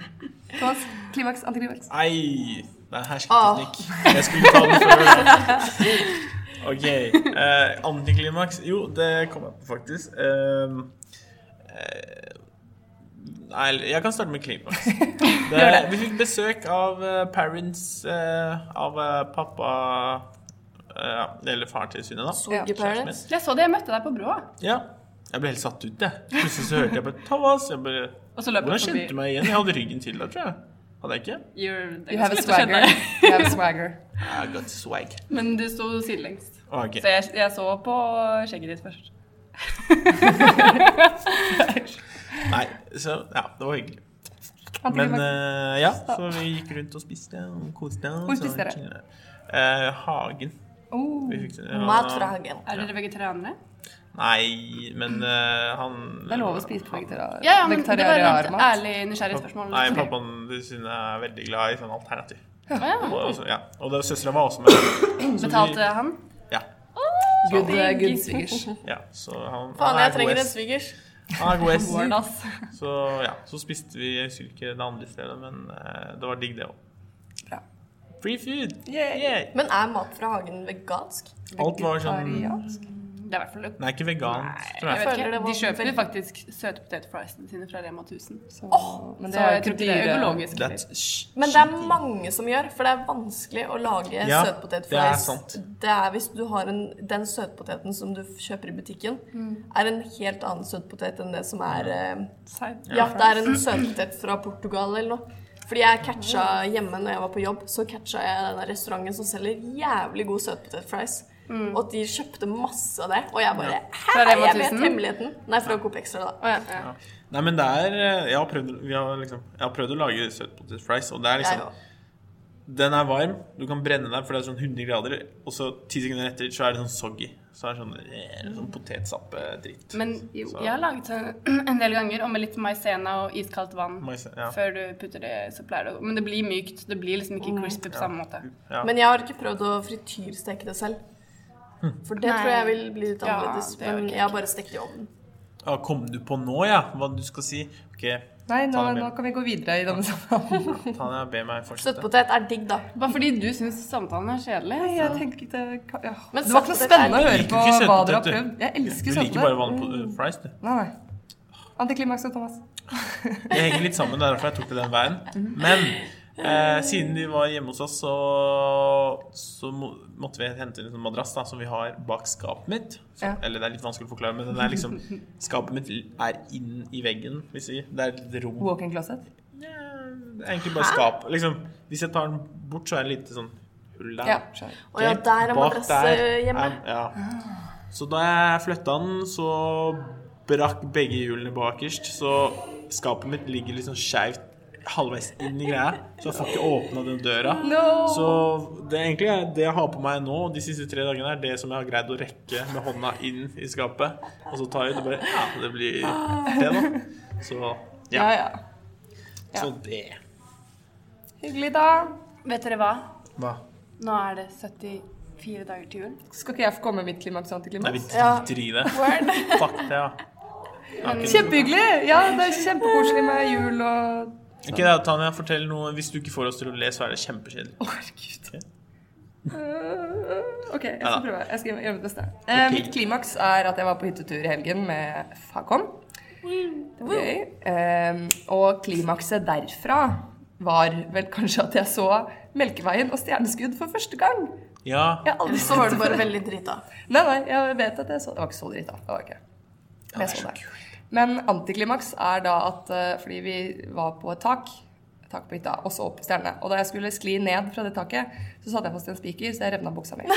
Speaker 3: Thomas, Klimaks, antiklimaks.
Speaker 2: Nei, det er hersketeknikk. Jeg skulle ta den før. da. OK. Eh, antiklimaks Jo, det kom jeg på, faktisk. Um, eh, nei, jeg kan starte med klimaks. Det, vi fikk besøk av eh, parents eh, av eh, pappa eh, Eller faren til Synne, da.
Speaker 3: Ja.
Speaker 4: Sogeparents.
Speaker 2: Kjæresten min.
Speaker 1: Jeg så det, jeg møtte deg på broa.
Speaker 2: Ja. Jeg ble helt satt ut, jeg. Plutselig så hørte jeg bare Thomas. Jeg bare,
Speaker 1: Og så løp
Speaker 2: Hvordan
Speaker 1: jeg
Speaker 2: kjente du
Speaker 1: forbi.
Speaker 2: meg igjen? Jeg hadde ryggen til deg, tror jeg. Hadde jeg ikke?
Speaker 1: You're, det er
Speaker 3: You have a
Speaker 1: ganske lett å kjenne
Speaker 3: swagger.
Speaker 1: deg.
Speaker 3: You have a swagger.
Speaker 2: I got swag.
Speaker 1: Men du sto sidelengs.
Speaker 2: Ok.
Speaker 1: Så jeg, jeg så på skjegget ditt først.
Speaker 2: Nei, så ja, det var hyggelig. Men
Speaker 3: Antiklimaks.
Speaker 2: eh, ja, så vi gikk rundt og spiste og koste oss.
Speaker 3: Hvor spiste dere?
Speaker 2: og- Eh, hagen.
Speaker 3: Oh.
Speaker 2: Vi fikk, ja,
Speaker 4: Mat fra hagen.
Speaker 1: Er dere vegetarianere?
Speaker 2: Nei, men eh, han
Speaker 3: Det er lov å spise på vegetarianer.
Speaker 1: Ja, ja, men det var et
Speaker 3: Vegetarianermat.
Speaker 1: ærlig, nysgjerrig spørsmål.
Speaker 3: liksom.
Speaker 2: Nei, pappaen til Synne er veldig glad i sånn alternativ.
Speaker 1: Å, ja.
Speaker 2: Og, så- ja. og det- søstera var også med. Så vi-
Speaker 1: Betalte han?
Speaker 2: Ja.
Speaker 3: Good, eh, good swingers.
Speaker 2: ja så han,
Speaker 4: Faen,
Speaker 2: han
Speaker 4: jeg
Speaker 2: er god
Speaker 4: trenger en
Speaker 2: S.
Speaker 4: svigers.
Speaker 2: Han er god S.
Speaker 1: Warn us.
Speaker 2: Så ja, så spiste vi jeg husker ikke det andre stedet, men eh, det var digg, det òg.
Speaker 3: Bra.
Speaker 2: Free food!
Speaker 3: Yay.
Speaker 2: Yay!
Speaker 4: Men er mat fra hagen vegansk?
Speaker 2: Alt var sånn
Speaker 3: Vegetariansk.
Speaker 1: Det er i hvert fall
Speaker 2: Nei, ikke vegansk, tror
Speaker 1: Jeg
Speaker 2: jeg.
Speaker 1: vet
Speaker 4: føler
Speaker 1: ikke,
Speaker 4: det var
Speaker 1: De kjøper
Speaker 4: veldig-
Speaker 1: jo faktisk søte potetfriesene sine fra Rema 1000.
Speaker 3: Så-
Speaker 1: Så jeg
Speaker 3: men det er jo ikke
Speaker 1: tror ikke det er
Speaker 3: dyre-
Speaker 1: økologisk.
Speaker 2: That's
Speaker 4: Men det er mange som gjør, for det er vanskelig å lage
Speaker 2: Ja, det er
Speaker 4: søtpotetfries.
Speaker 2: sant.
Speaker 4: Det er hvis du har en, den søtpoteten som du kjøper i butikken, er en helt annen søtpotet enn det som er eh,
Speaker 1: Side.
Speaker 4: Ja, det er en søtpotet fra Portugal eller noe. Fordi jeg catcha hjemme når jeg var på jobb, så catcha jeg denne restauranten som selger jævlig god søtpotetfries. Og at de kjøpte masse av det. Og jeg bare Hæ,
Speaker 1: Fra Rema
Speaker 4: jeg vet
Speaker 1: 1000?
Speaker 4: hemmeligheten! Nei, fra Coop Extra, da.
Speaker 1: Å, ja, ja.
Speaker 2: Nei, men det er eh, Jeg har prøvd, vi har liksom, jeg har prøvd å lage søtpotetfries, og det er
Speaker 4: Jeg
Speaker 2: liksom Den er varm, du kan brenne deg, for det er sånn 100 grader, og så ti sekunder etter så er det sånn soggy. Så er det sånn, eh, sånn potetsappe-dritt.
Speaker 1: Men jo,
Speaker 2: Så-
Speaker 1: jeg har laget det en del ganger, og med litt maizena og iskaldt vann
Speaker 2: Maise- ja.
Speaker 1: før du putter det, så pleier det å Men det blir mykt. Det blir liksom ikke crispy på samme måte.
Speaker 2: Ja.
Speaker 4: Men jeg har ikke prøvd å frityrsteke det selv.
Speaker 2: Hm.
Speaker 4: For det
Speaker 1: Nei.
Speaker 4: tror jeg vil bli litt
Speaker 1: Ja,
Speaker 4: annerledes.
Speaker 1: det er
Speaker 4: men
Speaker 1: ok.
Speaker 4: jeg har bare stekt i ovnen.
Speaker 2: Ah, kom du på nå, ja, hva du skal si? OK,
Speaker 3: Nei, nå,
Speaker 2: Ta det med.
Speaker 3: nå kan vi gå videre i denne samtalen.
Speaker 2: Tanja, be meg fortsette.
Speaker 4: Søtpotet er digg, da.
Speaker 1: Bare fordi du syns samtalen er kjedelig.
Speaker 3: Nei,
Speaker 1: Så.
Speaker 3: jeg tenkte ja. Altså.
Speaker 4: Men
Speaker 3: Det var ikke noe
Speaker 4: søtpotet
Speaker 3: spennende å
Speaker 4: er
Speaker 2: litt-
Speaker 3: høre på
Speaker 2: Du liker ikke
Speaker 3: hva dere har
Speaker 2: søtpotet,
Speaker 3: prøvd. Jeg elsker
Speaker 2: Du liker bare
Speaker 3: søtpotet.
Speaker 2: vanlig pot- fries, du.
Speaker 3: Nei, nei. Antiklimaks og Thomas.
Speaker 2: Det henger litt sammen, det er derfor jeg tok det den veien. Men Eh, siden vi var hjemme hos oss, så, så må, måtte vi hente inn en sånn madrass da, som vi har bak skapet mitt. Så,
Speaker 3: Ja.
Speaker 2: Eller det er litt vanskelig å forklare, men den er liksom, skapet mitt er inn i veggen. Hvis vi, det er et rom
Speaker 3: Walk-in closet?
Speaker 2: ja, det er egentlig bare skap. Liksom, hvis jeg tar den bort, så er det litt sånn hull der.
Speaker 3: Ja, skjønner.
Speaker 4: Å ja, der er
Speaker 2: Bak
Speaker 4: madrasse
Speaker 2: der
Speaker 4: hjemme.
Speaker 2: er- ja. Så da jeg flytta den, så brakk begge hjulene bakerst. Så skapet mitt ligger litt sånn skeivt halvveis inn i greia, så jeg får ikke åpna den døra. Så det er egentlig er det jeg har på meg nå de siste tre dagene, er det som jeg har greid å rekke med hånda inn i skapet. Og så tar jeg ut og bare Ja, det blir det, da. Så
Speaker 3: Ja,
Speaker 2: ja.
Speaker 3: ja.
Speaker 2: Så det.
Speaker 5: Hyggelig, da. Vet dere hva?
Speaker 2: Hva?
Speaker 5: Nå er det 74 dager til jul.
Speaker 3: Skal ikke jeg få komme med mitt klimaks og
Speaker 2: Nei, vi
Speaker 3: antiklimaks?
Speaker 2: driter i det. Fuck det, ja.
Speaker 3: Kjempehyggelig! Ja, det er kjempekoselig med jul og
Speaker 2: Ok da, Tanja, fortell noe. Hvis du ikke får oss til å le, så er det kjempekjedelig.
Speaker 3: Å, herregud.
Speaker 2: Ok.
Speaker 3: Øh, OK, jeg
Speaker 2: Ja da.
Speaker 3: skal prøve. Jeg skal gjøre mitt beste. Eh,
Speaker 2: Ok.
Speaker 3: mitt klimaks er at jeg var på hyttetur i helgen med Fagkom. Det var gøy. Eh, og klimakset derfra var vel kanskje at jeg så Melkeveien og stjerneskudd for første gang.
Speaker 2: Ja.
Speaker 3: Jeg har aldri
Speaker 4: Så var det bare veldig drita.
Speaker 3: Nei, nei, jeg vet at jeg så Det var ikke så dritt, da. Det var ikke. Men
Speaker 2: det er
Speaker 3: jeg så
Speaker 2: så
Speaker 3: det. Men antiklimaks er da at eh, fordi vi var på et tak, et tak på hytta, og så opp på stjernene. Og da jeg skulle skli ned fra det taket, så satte jeg fast i en spiker, så jeg revna buksa mi. Men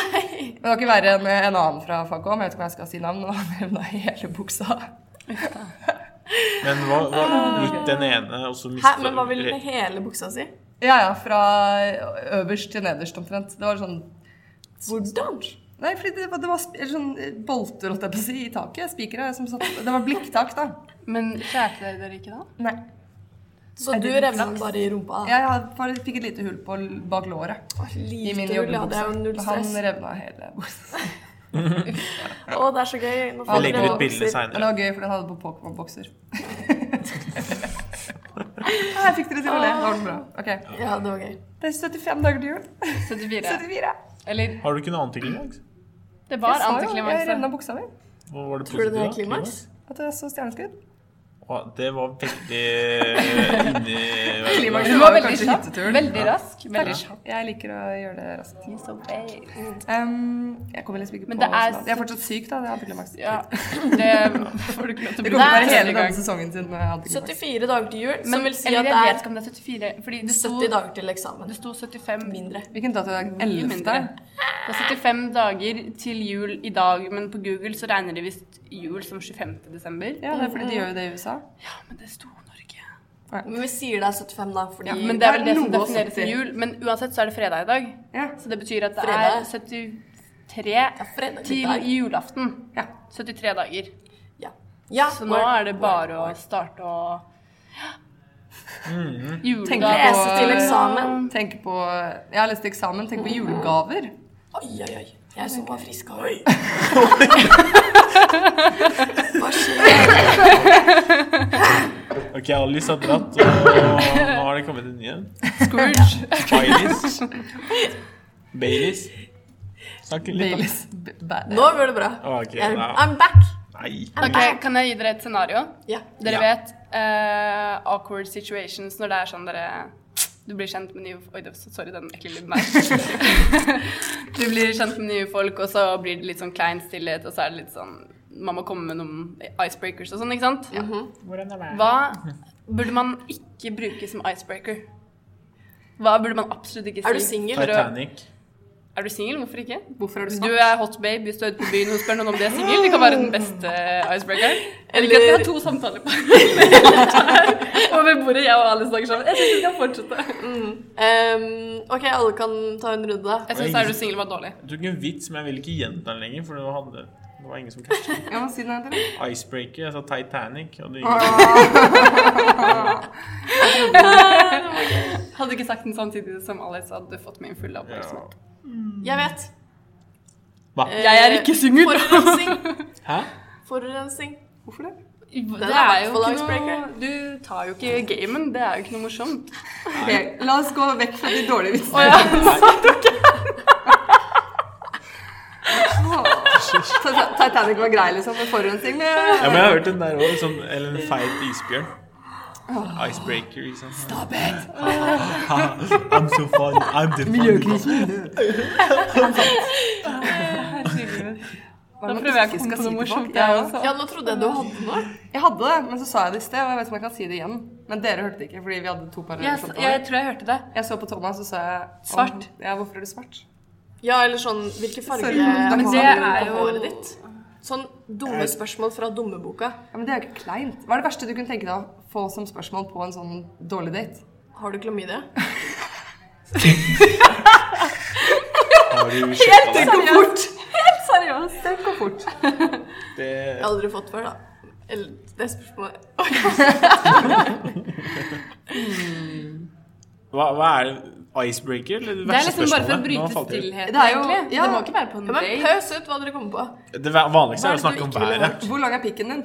Speaker 3: det var ikke verre enn en annen fra Fagom, jeg vet ikke om jeg skal si navn, men han revna hele buksa.
Speaker 2: Men hva, hva gikk den ene, og så
Speaker 4: Hæ,
Speaker 2: mista
Speaker 4: men hva ville du med hele buksa si?
Speaker 3: Ja ja, fra øverst til nederst omtrent. Det var sånn
Speaker 4: Hvordan?
Speaker 3: Nei, fordi det var, det var sp- eller sånn eh, bolter, holdt jeg på å si, i taket. Spikere som satt Det var blikktak, da.
Speaker 5: Men kjæreste dere dere ikke da?
Speaker 3: Nei.
Speaker 4: Så du revna den bare i rumpa? da?
Speaker 3: Jeg hadde- bare fikk et lite hull på l- bak låret.
Speaker 4: Åh,
Speaker 3: I min
Speaker 4: Lite ull, ja. Det
Speaker 3: joggebukse.
Speaker 4: er jo null
Speaker 3: Han
Speaker 4: stress.
Speaker 3: revna hele buksa.
Speaker 4: Å, det er så gøy. Nå
Speaker 3: Han
Speaker 4: får
Speaker 2: legger
Speaker 4: dere
Speaker 2: ut bilde
Speaker 4: bukser.
Speaker 3: Men det
Speaker 2: seinere.
Speaker 3: var gøy, for den hadde på Pokémon-bokser. Nei, jeg fikk dere til å le. Det var bra. Ok.
Speaker 4: Ja, det var gøy.
Speaker 3: Det er 75 dager til jul.
Speaker 5: 74.
Speaker 3: 74.
Speaker 5: Eller
Speaker 2: Har du ikke noe antiklimaks?
Speaker 5: det
Speaker 3: Jeg
Speaker 5: var
Speaker 3: sa jo, jeg
Speaker 5: antiklimaks. da.
Speaker 3: revna buksa mi.
Speaker 2: Hva var det
Speaker 4: Tror du det er
Speaker 2: positive, da?
Speaker 4: klimaks?
Speaker 3: At jeg så stjerneskudd.
Speaker 2: Å, Det var veldig inni
Speaker 3: Klimaks.
Speaker 5: Du var
Speaker 3: Det var jo
Speaker 5: veldig
Speaker 3: kanskje
Speaker 5: kjapp.
Speaker 3: hytteturen.
Speaker 5: Veldig rask. Veldig
Speaker 3: Takk.
Speaker 5: kjapp.
Speaker 3: Jeg liker å gjøre det raskt.
Speaker 5: Mm.
Speaker 3: Um, jeg kommer liksom ikke på
Speaker 5: Men
Speaker 3: hva
Speaker 5: det er
Speaker 3: som er Jeg er fortsatt syk, da. Det er antiklimaks.
Speaker 5: Ja, det får du ikke lov til å
Speaker 3: Det
Speaker 5: bli.
Speaker 3: kommer til å
Speaker 5: Nei,
Speaker 3: være hele
Speaker 5: gang.
Speaker 3: denne sesongen sin med antiklimaks.
Speaker 4: 74 dager til jul, som
Speaker 5: Men
Speaker 4: vil si
Speaker 5: eller
Speaker 4: at det
Speaker 5: jeg
Speaker 4: er
Speaker 5: vet ikke om det er 74, fordi det sto,
Speaker 4: 70 dager til eksamen.
Speaker 5: det sto 75
Speaker 4: Mindre.
Speaker 3: Hvilken dato er det?
Speaker 1: Mye
Speaker 3: 11.?
Speaker 1: mindre. Det er 75 dager til jul i dag, men på Google så regner de visst jul som 25. desember.
Speaker 3: Ja, det er fordi de gjør jo det i USA.
Speaker 1: Men det sto Norge.
Speaker 4: Men vi sier det er 75, da, fordi
Speaker 1: Ja, men det er vel det som
Speaker 3: Noe å
Speaker 1: defineres
Speaker 3: si.
Speaker 1: som jul. Men uansett så er det fredag i dag.
Speaker 3: Ja.
Speaker 1: Så det betyr at det
Speaker 4: Fredag.
Speaker 1: er 73
Speaker 4: fredag i
Speaker 1: til
Speaker 4: dag.
Speaker 1: julaften.
Speaker 3: Ja.
Speaker 1: 73 dager.
Speaker 4: Ja. ja
Speaker 1: Så nå er det bare å starte å
Speaker 3: Tenk
Speaker 1: Juledag
Speaker 3: på-
Speaker 4: Lese til eksamen.
Speaker 3: Tenk på Jeg har lest eksamen. Tenk på julegaver.
Speaker 4: Oi, oi, oi. Jeg som var frisk. Oi. Hva skjer?
Speaker 2: Ok, Alice har dratt, og nå har det kommet en ny en.
Speaker 3: Scrooge.
Speaker 2: Baileys. Baileys. Snakk litt, da.
Speaker 3: Baileys. B- ba-
Speaker 4: Nå går det bra.
Speaker 2: Ok,
Speaker 4: I'm,
Speaker 2: da.
Speaker 4: I'm back.
Speaker 2: Nei.
Speaker 1: Ok, Kan jeg gi dere et scenario?
Speaker 4: Ja.
Speaker 1: Dere
Speaker 2: Ja.
Speaker 1: vet eh, awkward situations når det er sånn dere Du blir kjent med nye Oi, det- sorry, den ekle lyden der. du blir kjent med nye folk, og så blir det litt sånn klein stillhet, og så er det litt sånn Man må komme med noen icebreakers og sånn, ikke sant? Hva burde man ikke bruke som icebreaker? Hva burde man absolutt ikke si?
Speaker 4: Er du singel?
Speaker 1: for å-
Speaker 2: Titanic.
Speaker 1: Er du singel? Hvorfor ikke?
Speaker 3: Hvorfor er du
Speaker 1: Du
Speaker 3: sånn?
Speaker 1: er hot babe hvis du er ute på byen og spør noen om de er singel. Det kan være den beste icebreakeren. Eller ikke at vi har to samtaler på over bordet, jeg og Alice snakker sammen. Jeg syns vi kan fortsette.
Speaker 4: Ehm, OK, alle kan ta en runde, da.
Speaker 1: Jeg syns er du singel var dårlig.
Speaker 2: Jeg tok en vits, men jeg vil ikke gjenta den lenger, for det var, det var ingen som catchet den.
Speaker 3: Jeg må si den til deg.
Speaker 2: Icebreaker, jeg sa Titanic, og det
Speaker 1: Hadde ikke sagt den samtidig som Alice, hadde du fått min fulle oppmerksomhet.
Speaker 2: gikk
Speaker 4: Jeg vet.
Speaker 2: Hva?
Speaker 4: Eh,
Speaker 1: Jeg er ikke singel!
Speaker 4: Forurensning.
Speaker 2: Hæ?
Speaker 4: Forurensning.
Speaker 3: Hvorfor det?
Speaker 1: Det er
Speaker 4: er i hvert
Speaker 1: jo ikke
Speaker 4: fall
Speaker 1: noe
Speaker 4: icebreaker.
Speaker 1: Du tar jo ikke gamen. Det er jo ikke noe morsomt.
Speaker 3: Ok, La oss gå vekk fra de dårlige vitsene. Tit- Titanic var grei, liksom, med forurensning.
Speaker 2: Ja,
Speaker 3: men-
Speaker 2: men jeg har hørt den der også, sånn, eller en feit isbjørn. Icebreaker, liksom. Stop it! I'm so fun. I'm the fun.
Speaker 1: Da prøver jeg å komme på noe morsomt, jeg også.
Speaker 4: Ja, nå trodde jeg du hadde noe.
Speaker 3: Jeg hadde det, men så sa jeg det i sted, og jeg vet ikke om jeg kan si det igjen. Men dere hørte det ikke, fordi vi hadde to parallelle
Speaker 5: Jeg,
Speaker 1: Sånn,
Speaker 3: samtaler.
Speaker 5: jeg tror jeg hørte det.
Speaker 3: Jeg så på Thomas, og så sa jeg
Speaker 5: Svart.
Speaker 3: Om, ja, hvorfor er du svart?
Speaker 4: Ja, eller sånn Hvilke farger
Speaker 3: Sorry, men
Speaker 4: har
Speaker 5: det er
Speaker 4: du på
Speaker 5: jo-
Speaker 4: håret ditt? Sånn dumme spørsmål fra dummeboka.
Speaker 3: Ja, men det er jo ikke kleint. Hva er det verste du kunne tenke deg å få som spørsmål på en sånn dårlig date?
Speaker 4: Har du klamydia?
Speaker 2: Har du sjekka det?
Speaker 3: går fort!
Speaker 1: Seriøst.
Speaker 3: Det går fort.
Speaker 4: Jeg
Speaker 2: Det-
Speaker 4: har aldri fått før, da. Eller det spørsmålet
Speaker 2: Hva, hva er det? Icebreaker? Eller det
Speaker 5: Det er
Speaker 2: verste
Speaker 5: liksom bare for å
Speaker 2: spørsmålet? Nå
Speaker 5: bryte
Speaker 2: falt jeg ut.
Speaker 5: stillheten,
Speaker 3: Det er jo-
Speaker 5: egentlig.
Speaker 3: ja.
Speaker 5: Det må ikke være på en
Speaker 4: Ja, men
Speaker 5: date.
Speaker 4: Pøs ut hva dere kommer på.
Speaker 2: Det vanligste er å
Speaker 4: Hva er det
Speaker 2: snakke om
Speaker 4: du ikke ville
Speaker 2: været.
Speaker 3: Hvor lang er pikken din?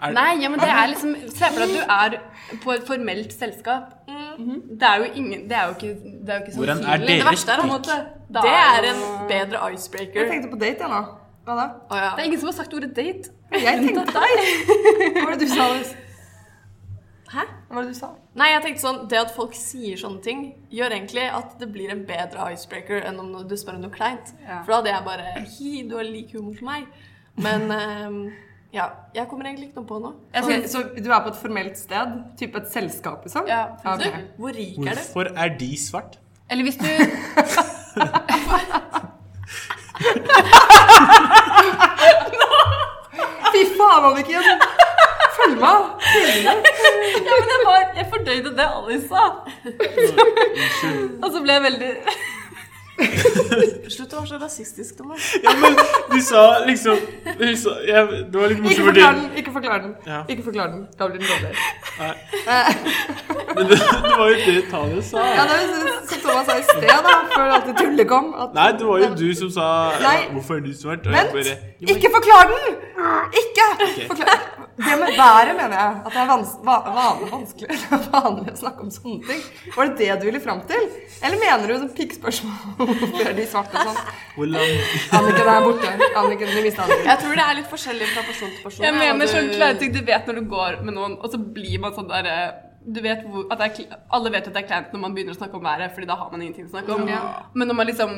Speaker 2: Er-
Speaker 5: Nei, ja, men det er liksom Se for deg at du er på et formelt selskap.
Speaker 3: Mhm.
Speaker 5: Det er jo ingen Det er jo ikke, det er jo ikke så
Speaker 2: Hvordan er
Speaker 5: synlig.
Speaker 4: Det verste er
Speaker 2: Erik,
Speaker 4: på en måte
Speaker 5: Da
Speaker 4: Det
Speaker 5: er
Speaker 4: er
Speaker 5: jo-
Speaker 4: en bedre
Speaker 3: Jeg
Speaker 4: icebreaker.
Speaker 3: tenkte på date, jeg nå. Hva da?
Speaker 4: Å, ja.
Speaker 5: Det er ingen som har sagt ordet date.
Speaker 3: Jeg tenkte på deg! Hva var det du sa? Alice?
Speaker 4: Hæ?
Speaker 3: Hva var det du sa?
Speaker 4: Nei, jeg tenkte sånn Det at folk sier sånne ting, gjør egentlig at det blir en bedre icebreaker enn om du spør om noe kleint.
Speaker 3: Ja.
Speaker 4: For da hadde jeg bare Hi, du har lik humor som meg. Men ehm, ja. Jeg kommer egentlig ikke noe på nå.
Speaker 3: Ok, så du er på et formelt sted? Type et selskap, liksom?
Speaker 5: Ja.
Speaker 4: Du,
Speaker 3: ok.
Speaker 4: hvor rik er du?
Speaker 2: Hvorfor er de svart?
Speaker 5: Eller hvis du
Speaker 3: Fy faen, Anniken! Følg med!
Speaker 1: Ja, men jeg, var, jeg fordøyde det Alice sa.
Speaker 2: Unnskyld.
Speaker 1: Og så ble jeg veldig
Speaker 4: Slutt å være så rasistisk, Thomas.
Speaker 2: Ja, men du sa liksom du sa, ja, Det var litt
Speaker 3: Ikke
Speaker 2: morsomt fordi
Speaker 3: forklar den. Ikke forklar den.
Speaker 2: Ja.
Speaker 3: Ikke forklar den. Da blir den dårlig.
Speaker 2: Men det, det var jo det Tanja sa.
Speaker 3: Ja, det er jo så- som Thomas sa i sted, da, før alt det tullet kom. At
Speaker 2: Nei, det var jo du som sa
Speaker 3: Nei.
Speaker 2: 'Hvorfor er du svart?' Og jeg
Speaker 3: Vent!
Speaker 2: bare jo, men,
Speaker 3: Ikke forklar den! Ikke! Forklar. Det med været mener jeg. At det er vans va van vanskelig det er vanlig å snakke om sånne ting. Var det det du ville fram til? Eller mener du sånn piggspørsmål? Hvorfor er de svarte og sånn?
Speaker 2: hvor lang
Speaker 3: Anniken er borte. Anniken, du mistet Anniken.
Speaker 4: Jeg tror det er litt forskjellig fra person til person.
Speaker 1: Jeg
Speaker 4: ja,
Speaker 1: mener
Speaker 4: du-
Speaker 1: sånn kleine ting du vet når du går med noen, og så blir man sånn derre du vet hvor, at det er, kle- Alle vet at det er kleint når man begynner å snakke om været, Fordi da har man ingenting å snakke om. Men når man liksom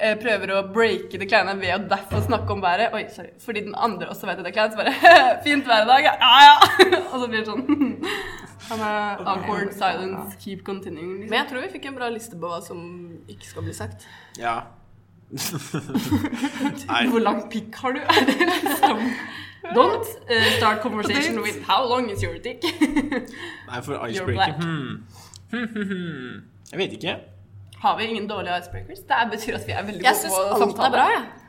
Speaker 1: eh, prøver å breake det kleine ved å derfor snakke om været Oi, sorry. Fordi den andre også vet at det er kleint, så bare Fint vær i dag, ja, ja! ja. og så blir det sånn
Speaker 3: Han er
Speaker 1: awkward silence, keep continuing.
Speaker 4: Men
Speaker 1: Liksom.
Speaker 4: jeg tror vi fikk en bra liste på hva som ikke skal bli sagt.
Speaker 2: Ja. Nei.
Speaker 1: Hvor lang pikk har du? Er det liksom Don't eh, start conversation with how long is your dick?
Speaker 2: Nei, for
Speaker 1: black.
Speaker 2: icebreaker hmm. Hmm, hmm, hmm. Jeg vet ikke.
Speaker 1: Har vi ingen dårlige icebreakers? Det er- betyr at vi er veldig
Speaker 4: Jeg
Speaker 1: gode
Speaker 4: syns
Speaker 1: på
Speaker 4: alt er
Speaker 1: samtale.
Speaker 4: bra, jeg.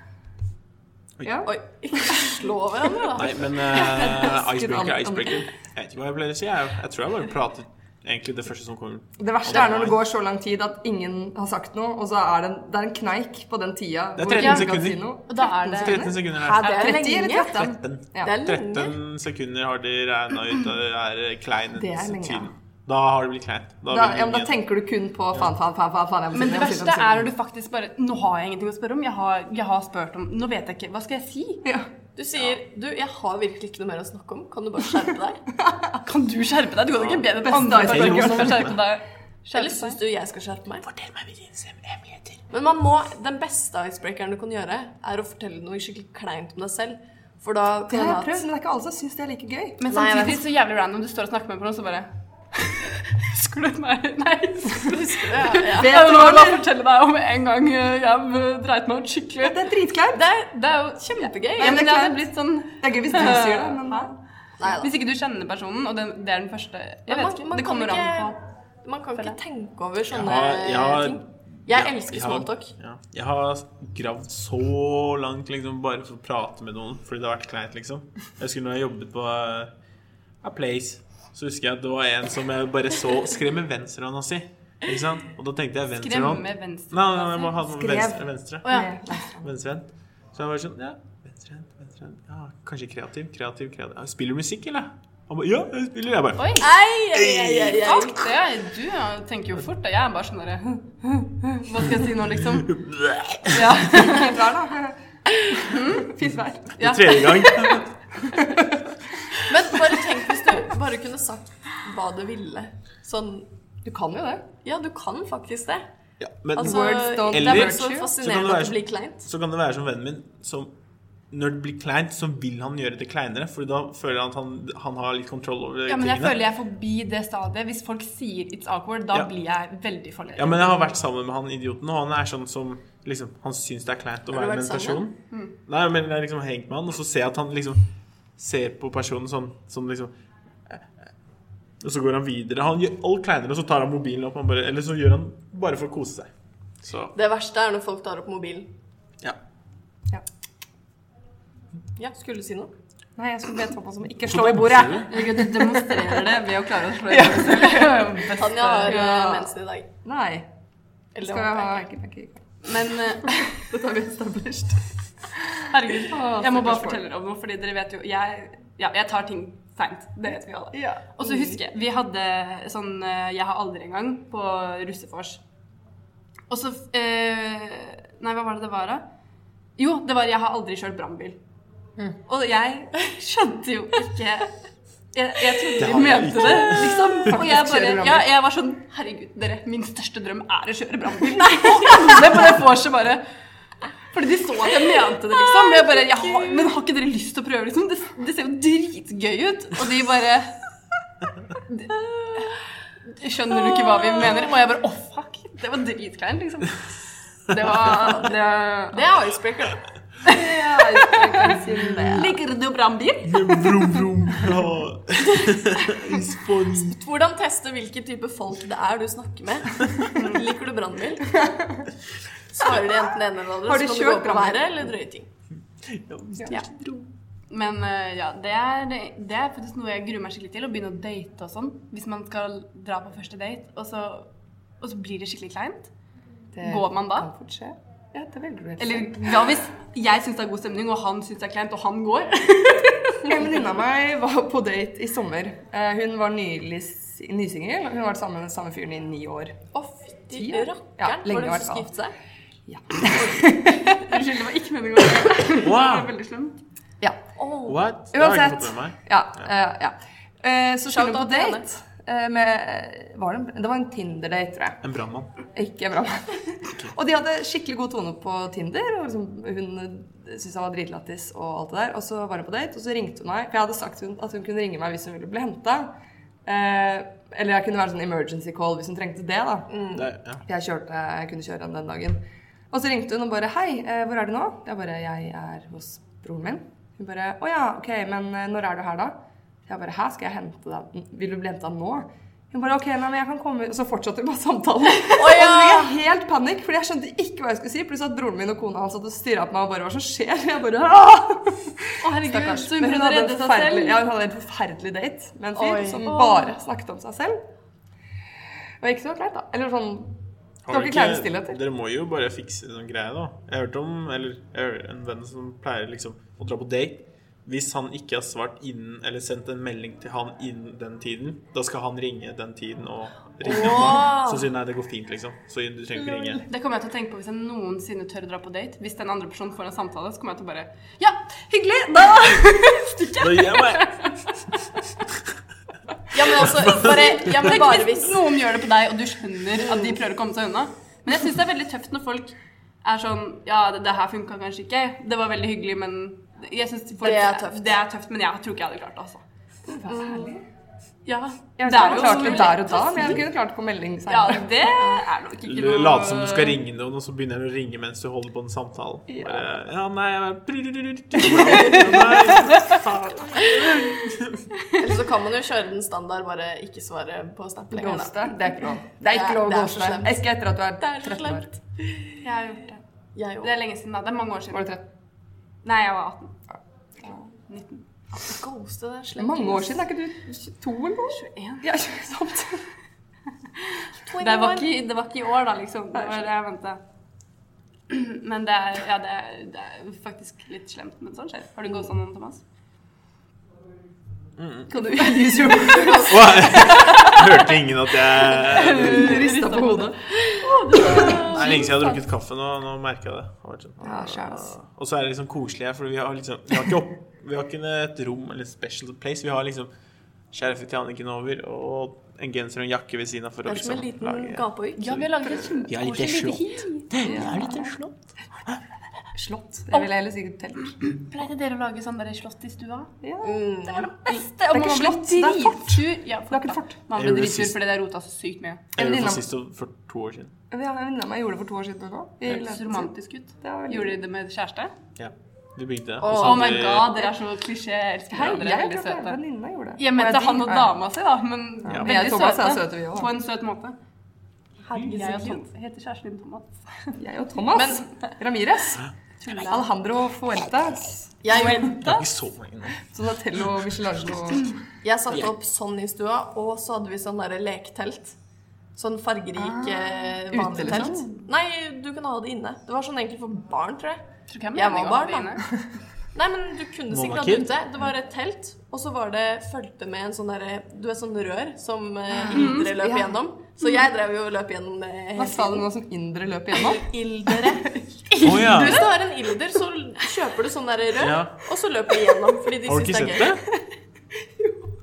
Speaker 3: Ja.
Speaker 4: Oi, ikke slå hverandre, da.
Speaker 2: Nei, men eh,
Speaker 3: Skulle
Speaker 2: icebreaker,
Speaker 3: an-
Speaker 2: icebreaker. Jeg vet ikke hva jeg pleier å si. Jeg, jeg tror jeg bare prater egentlig det første som kommer.
Speaker 3: Det verste er når det går så lang tid at ingen har sagt noe, og så er det en, det er en kneik på den tida.
Speaker 2: Det er 13
Speaker 3: hvor ingen
Speaker 2: sekunder.
Speaker 3: kan Si noe.
Speaker 5: Og da er det
Speaker 2: 13 sekunder
Speaker 4: Hæ,
Speaker 2: her.
Speaker 4: det er
Speaker 3: 30 eller
Speaker 4: lenge.
Speaker 3: 13?
Speaker 2: 13.
Speaker 3: Ja.
Speaker 4: Det er lenge.
Speaker 2: 13 sekunder har de regna ut at det er kleinens
Speaker 3: Det er lenge.
Speaker 2: tid. Da har det blitt kleint. Da
Speaker 3: Da,
Speaker 2: vil
Speaker 3: ja, men da
Speaker 2: ingen-
Speaker 3: tenker du kun på faen, faen, faen. faen, faen jeg må si
Speaker 1: Men det
Speaker 3: jeg må si
Speaker 1: verste
Speaker 3: jeg må si
Speaker 1: er når du faktisk bare Nå har jeg ingenting å spørre om. Jeg har, jeg har spurt om Nå vet jeg ikke. Hva skal jeg si?
Speaker 3: Ja.
Speaker 4: Du sier du, 'jeg har virkelig ikke noe mer å snakke om', kan du bare skjerpe deg?
Speaker 1: Kan du skjerpe deg? Du kan ikke be den
Speaker 3: Beste
Speaker 1: andre
Speaker 2: icebreaker.
Speaker 1: personen om å skjerpe deg.
Speaker 4: Eller
Speaker 1: Skjerpe
Speaker 4: syns
Speaker 1: deg.
Speaker 4: du jeg skal skjerpe meg?
Speaker 2: Fortell meg hvilke hemmeligheter.
Speaker 4: Men man må, den beste icebreakeren du kan gjøre, er å fortelle noe skikkelig kleint om deg selv. For da
Speaker 3: Det
Speaker 4: kan
Speaker 3: har jeg
Speaker 4: det
Speaker 3: prøvd,
Speaker 4: hende at
Speaker 3: men det er ikke alle som syns det er like gøy.
Speaker 1: Men
Speaker 4: Nei, jeg
Speaker 1: samtidig så jævlig random. Du står og snakker med noen, så bare Husker du meg? Nei.
Speaker 4: Husker du? Ja, ja.
Speaker 1: Jeg vil bare fortelle deg om en gang eh, jeg eh, dreit meg ut skikkelig.
Speaker 3: Det er dritkleint.
Speaker 1: Det er, det er jo kjempegøy.
Speaker 3: Nei,
Speaker 1: Ja,
Speaker 3: men det
Speaker 1: men
Speaker 3: er
Speaker 1: det hadde
Speaker 3: kleint.
Speaker 1: blitt sånn
Speaker 3: Det er gøy hvis du sier det, men
Speaker 4: Nei da.
Speaker 1: Hvis ikke du kjenner personen, og det, det er den første Jeg
Speaker 4: Men
Speaker 1: vet
Speaker 4: man-
Speaker 1: ikke.
Speaker 4: man
Speaker 1: Det
Speaker 4: kan
Speaker 1: kommer an på.
Speaker 4: ikke- Man kan ikke tenke over sånne
Speaker 2: Jeg har-
Speaker 4: ting. Jeg
Speaker 2: Ja,
Speaker 4: elsker
Speaker 2: har-
Speaker 4: smalltalk.
Speaker 2: Ja. Jeg har gravd så langt liksom, bare for å prate med noen fordi det har vært kleint, liksom. Jeg husker når jeg jobbet på eh, A Place, så husker jeg at det var en som jeg bare så skremme venstrehånda si. altså, Ikke sant? Og da tenkte jeg venstrehånd. Nei,
Speaker 1: Skremme venstre.
Speaker 2: nei, nei, jeg bare hadde noen
Speaker 3: Skrev.
Speaker 2: venstre, venstre.
Speaker 4: Å ja.
Speaker 2: Venstrehendt. Så jeg var sånn Ja, venstrehendt, venstrehendt. Ja, kanskje kreativ, kreativ, kreativ. Ja, Spiller du musikk, eller? Han bare Ja, jeg spiller. Jeg bare
Speaker 1: Oi!
Speaker 4: Nei, jeg, jeg, jeg, jeg.
Speaker 1: Fuck det! Du ja, tenker jo fort, da. Jeg er bare sånn derre Hva skal jeg si nå, liksom? Ja.
Speaker 3: helt vær, da. Fint vær.
Speaker 2: Det er Tredje gang.
Speaker 4: Men bare tenk hvis du Bare kunne sagt hva du ville. Sånn
Speaker 3: Du kan jo det.
Speaker 4: Ja, du kan faktisk det.
Speaker 2: Ja, men
Speaker 4: Altså,
Speaker 3: Words don't
Speaker 4: det er bare
Speaker 2: Eller-
Speaker 4: så
Speaker 2: Så kan det
Speaker 4: fascinerende at det
Speaker 2: være-
Speaker 4: blir kleint.
Speaker 2: så kan det være som vennen min som Når det blir kleint, så vil han gjøre det kleinere. For da føler han at han, han har litt kontroll over
Speaker 5: Ja, men jeg
Speaker 2: tingene.
Speaker 5: føler jeg er forbi det stadiet. Hvis folk sier 'it's awkward', da
Speaker 2: Ja.
Speaker 5: blir jeg veldig fornøyd.
Speaker 2: Ja, men jeg har vært sammen med han idioten, og han er sånn som liksom, Han syns det er kleint å
Speaker 4: Har du
Speaker 2: være med en
Speaker 4: vært
Speaker 2: person. Nei, men jeg har liksom hengt med han, og så ser jeg at han liksom ser på personen sånn som liksom Og så går han videre. Han gjør alt kleinere, og så tar han mobilen opp, han bare, eller så gjør han bare for å kose seg. Så
Speaker 4: Det verste er når folk tar opp mobilen.
Speaker 2: ja.
Speaker 4: Ja, skulle du si noe?
Speaker 3: Nei, jeg skulle bedt pappa som ikke slå i bordet.
Speaker 1: Du demonstrerer det ved å klare å slå i
Speaker 4: Tanja har
Speaker 3: Ja.
Speaker 4: eh, mensen i dag.
Speaker 3: Nei.
Speaker 4: Eller
Speaker 3: Skal
Speaker 4: det
Speaker 3: jeg
Speaker 4: håper
Speaker 3: ha
Speaker 4: jeg
Speaker 3: ikke, ikke, ikke.
Speaker 4: ikke. Men eh,
Speaker 1: Dette har vi established. Herregud. Jeg må bare fortelle om noe, fordi dere vet jo Jeg, ja, jeg tar ting seint. Det vet vi alle. Og så husker jeg Vi hadde sånn eh, Jeg har aldri engang på russefors. Og så eh, Nei, hva var det det var, da? Jo, det var Jeg har aldri kjørt brannbil. Og jeg skjønte jo ikke jeg, jeg
Speaker 2: Det
Speaker 1: trodde de
Speaker 2: har jeg
Speaker 1: mente
Speaker 2: ikke.
Speaker 1: det, liksom. Og jeg bare
Speaker 3: kjøre brannbil.
Speaker 1: ja, jeg var sånn Herregud, dere, min største drøm er å kjøre brannbil. Nei, alle på det vorset bare fordi de så at jeg mente det, liksom. Men jeg bare, jeg har, men har ikke dere lyst til å prøve, liksom? Det, det ser jo dritgøy ut. Og de bare de, Skjønner du ikke hva vi mener? Og jeg bare Å, fuck! Det var dritkleint, liksom. Det var det,
Speaker 4: det er icebreaker. da.
Speaker 1: Ligger det jo brannbil?
Speaker 2: Brum, brum, bra. Respons.
Speaker 4: Hvordan teste hvilken type folk det er du snakker med? Liker du brannbil? Svarer de enten det ene eller det andre,
Speaker 3: Har du
Speaker 4: så kan du
Speaker 3: kjørt
Speaker 4: gå på været eller drøye ting.
Speaker 1: Men eh, ja, det er, det er faktisk noe jeg gruer meg skikkelig til. Å begynne å date og sånn. Hvis man skal dra på første date, og så, og så blir det skikkelig kleint.
Speaker 3: Det
Speaker 1: Går man da?
Speaker 3: kan fort skje. Ja, det velger du. helt selv.
Speaker 1: Eller ja, hvis jeg syns det er god stemning, og han syns det er kleint, og han går.
Speaker 3: En venninne av meg var på date i sommer. Eh, Hun var nylig s- nysingel. og Hun har vært sammen med samme fyren i ni år.
Speaker 4: Å,
Speaker 3: Ti
Speaker 4: fytti
Speaker 3: år?
Speaker 4: rakkeren.
Speaker 3: Ja,
Speaker 4: Var
Speaker 3: lenge i
Speaker 4: det hun
Speaker 3: hvert
Speaker 4: som
Speaker 3: fall.
Speaker 4: giftet seg?
Speaker 1: Unnskyld, det var ikke meningen å gjøre det. Det var
Speaker 2: Wow!
Speaker 1: veldig slemt.
Speaker 3: Ja.
Speaker 4: Åh,
Speaker 2: What? Det har jeg ikke
Speaker 3: Uansett.
Speaker 2: fått med meg.
Speaker 3: Ja, eh, ja. Eh, Så skulle hun
Speaker 4: Shout
Speaker 3: på
Speaker 4: out til henne.
Speaker 3: date eh, med var det, en- det var en Tinder-date, tror jeg.
Speaker 2: En brannmann.
Speaker 3: Ikke bra. Og de hadde skikkelig god tone på Tinder. Og liksom, hun eh, syntes han var dritlættis og alt det der. Og så var hun på date, og så ringte hun meg. For jeg hadde sagt hun, at hun kunne ringe meg hvis hun ville bli henta. Eh, eller jeg kunne være sånn emergency call hvis hun trengte det, da.
Speaker 2: Det er, ja.
Speaker 3: For Jeg, kjørte, jeg kunne kjøre henne den dagen. Og så ringte hun og bare 'Hei, eh, hvor er du nå?' Jeg bare 'Jeg er hos broren min'. Hun bare 'Å ja, ok, men eh, når er du her da?' Jeg bare 'Hæ, skal jeg hente deg Vil du bli henta nå?' Hun bare 'OK, nei, men jeg kan komme ut.' Og så fortsatte hun bare samtalen. Og så fikk jeg helt panikk, fordi jeg skjønte ikke hva jeg skulle si. Pluss at broren min og kona hans hadde stirra på meg og bare 'Hva som skjer?' Jeg bare «Åh!»
Speaker 1: Å, herregud,
Speaker 3: Stakkars.
Speaker 1: så hun prøvde
Speaker 3: Men hun
Speaker 1: å
Speaker 3: hadde en
Speaker 1: redde seg
Speaker 3: forferdelig,
Speaker 1: selv.
Speaker 3: ja, hun hadde en forferdelig date med en fyr
Speaker 4: Oi.
Speaker 3: som bare snakket om seg selv. Og ikke så kleint, da. Eller sånn Det
Speaker 2: Har du
Speaker 3: var ikke
Speaker 2: ikke-
Speaker 3: kleine stillheter.
Speaker 2: Dere må jo bare fikse sånn greie, da. Jeg har hørt om eller, jeg har en venn som pleier liksom å dra på date. Hvis han ikke har svart innen eller sendt en melding til han innen den tiden, da skal han ringe den tiden og ringe
Speaker 4: Wow.
Speaker 2: han. Så sier han, nei, det går fint, liksom. Så du trenger ikke ringe.
Speaker 1: Det kommer jeg til å tenke på hvis jeg noensinne tør å dra på date. Hvis den andre personen får en samtale, så kommer jeg til å bare Ja, hyggelig! Da
Speaker 2: Da gir jeg meg!
Speaker 4: Ja, men altså, bare, ja, men bare hvis
Speaker 1: Hvis noen gjør det på deg, og du skjønner at de prøver å komme seg unna. Men jeg syns det er veldig tøft når folk er sånn Ja, det, det her funka kanskje ikke. Det var veldig hyggelig, men jeg synes folk,
Speaker 4: Det er tøft.
Speaker 1: Det er tøft, men jeg tror ikke jeg hadde klart det, altså. Ja,
Speaker 3: Jeg
Speaker 1: det
Speaker 3: har
Speaker 1: er
Speaker 3: ikke
Speaker 1: jo
Speaker 3: klart
Speaker 1: så
Speaker 3: det
Speaker 1: mulig.
Speaker 3: der og da, men jeg kunne klart på melding
Speaker 1: Ja,
Speaker 3: senere.
Speaker 1: det er nok ikke noe
Speaker 2: Late som du skal ringe noen, og så begynner han å ringe mens du holder på en samtale. Bare, ja, nei, jeg bare-
Speaker 4: Eller så kan man jo kjøre den standard, bare ikke svare på Snap lenger. da.
Speaker 3: Ghoste. Det er ikke lov. Det er ikke lov å
Speaker 4: Det er så
Speaker 3: ghoste.
Speaker 4: slemt.
Speaker 3: Ikke etter at du er
Speaker 4: Det er så
Speaker 3: 13 år.
Speaker 4: slemt.
Speaker 1: Jeg har gjort det.
Speaker 4: Jeg
Speaker 1: Det
Speaker 4: òg.
Speaker 1: er lenge siden, da. Det er mange år siden.
Speaker 3: Var du 13?
Speaker 1: Nei, jeg var 18.
Speaker 4: Ghoste,
Speaker 3: Det
Speaker 4: det er
Speaker 3: er
Speaker 4: slemt.
Speaker 3: Mange år siden. Er ikke du 22 eller noe?
Speaker 1: 21.
Speaker 3: Ja, sant.
Speaker 1: Det var, ikke, det var ikke i år, da, liksom. Det var det jeg venta. Men det er, ja, det, er, det er faktisk litt slemt, men sånn skjer. Har du ghosta noen, Thomas?
Speaker 3: Mm.
Speaker 1: Kan du
Speaker 2: Hørte ingen at jeg
Speaker 3: Rista på hodet.
Speaker 2: Det er lenge siden jeg har drukket kaffe nå. Nå merker jeg det. Har vært sånn.
Speaker 3: Ja, sjæls.
Speaker 2: Og så er det liksom koselig her, for vi har liksom Vi har ikke, opp, vi har ikke et rom eller special place. Vi har liksom Sheriffen til Anniken over, og en genser og en jakke ved siden av for å
Speaker 4: Det er som
Speaker 2: liksom
Speaker 4: en liten
Speaker 2: lage
Speaker 4: gapeøyk.
Speaker 1: Ja, vi har laget et
Speaker 2: Jeg er litt
Speaker 1: kjempekoselig lite
Speaker 2: slått.
Speaker 1: hit.
Speaker 3: Slott. Jeg ville heller si telt.
Speaker 1: Pleide dere å lage sånn der slott i stua?
Speaker 3: Ja.
Speaker 1: Det var det beste!
Speaker 3: Det er ikke slott, det er fort.
Speaker 1: Ja,
Speaker 3: Det er ikke et fort.
Speaker 2: Jeg
Speaker 1: Man ble
Speaker 2: gjorde det
Speaker 1: dritsur
Speaker 2: sist.
Speaker 1: fordi det rota så sykt mye.
Speaker 2: Jeg gjorde det
Speaker 3: Venninna-
Speaker 2: for sist og for to år siden.
Speaker 3: Ja, En venninne av meg gjorde det for to år siden. nå.
Speaker 1: Det
Speaker 3: I
Speaker 1: høres
Speaker 3: leiligheten sin.
Speaker 1: romantisk ut.
Speaker 3: Det var veldig-
Speaker 1: Gjorde de det med kjæreste?
Speaker 2: Ja. Vi begynte det.
Speaker 1: Oh, my god, dere er så klisjé. Jeg elsker
Speaker 3: Hei,
Speaker 1: dere. Dere er
Speaker 3: jeg er
Speaker 1: veldig
Speaker 3: klart det.
Speaker 1: søte.
Speaker 3: Venninna gjorde det.
Speaker 1: Jeg mente han og dama si, da, men
Speaker 2: Ja,
Speaker 3: men jeg
Speaker 1: veldig
Speaker 3: og Thomas er søte, vi også.
Speaker 1: På en søt måte.
Speaker 4: Herregud,
Speaker 1: Jeg
Speaker 4: så
Speaker 1: og
Speaker 4: cute.
Speaker 1: Tom- heter kjæresten din Thomas.
Speaker 3: Jeg og Thomas Ramires. Alejandro Fuentes.
Speaker 4: Jeg,
Speaker 2: Det er ikke så mange nå.
Speaker 3: Donatello Michelangelo.
Speaker 4: jeg satte opp sånn i stua, og så hadde vi sånn derre leketelt. Sånn
Speaker 1: Ah,
Speaker 4: fargerik eh,
Speaker 3: ute,
Speaker 4: vanlig telt.
Speaker 3: liksom?
Speaker 4: Nei, du kunne ha det inne. Det var sånn egentlig for barn, tror jeg.
Speaker 1: Tror ikke
Speaker 4: Jeg var
Speaker 1: meningen å ha
Speaker 4: barn,
Speaker 1: det
Speaker 4: da.
Speaker 1: inne.
Speaker 4: Nei, men du kunne
Speaker 2: Mamma
Speaker 4: sikkert ha
Speaker 2: Kid?
Speaker 4: det ute. Det var et telt, og så var det fulgte med en sånn derre Du vet sånn rør som eh, Ildre løp
Speaker 3: ja.
Speaker 4: gjennom? Så jeg drev jo og løp gjennom det hele
Speaker 3: Hva sa du
Speaker 4: tiden.
Speaker 3: nå som indre løp igjennom?
Speaker 4: Ildere.
Speaker 2: Å ja.
Speaker 4: Hvis du har en ilder, så kjøper du sånn derre rør,
Speaker 2: Ja.
Speaker 4: og så løper du gjennom fordi de
Speaker 2: Har du
Speaker 4: syns
Speaker 2: ikke
Speaker 4: det
Speaker 2: sett
Speaker 4: er
Speaker 2: det?
Speaker 4: gøy.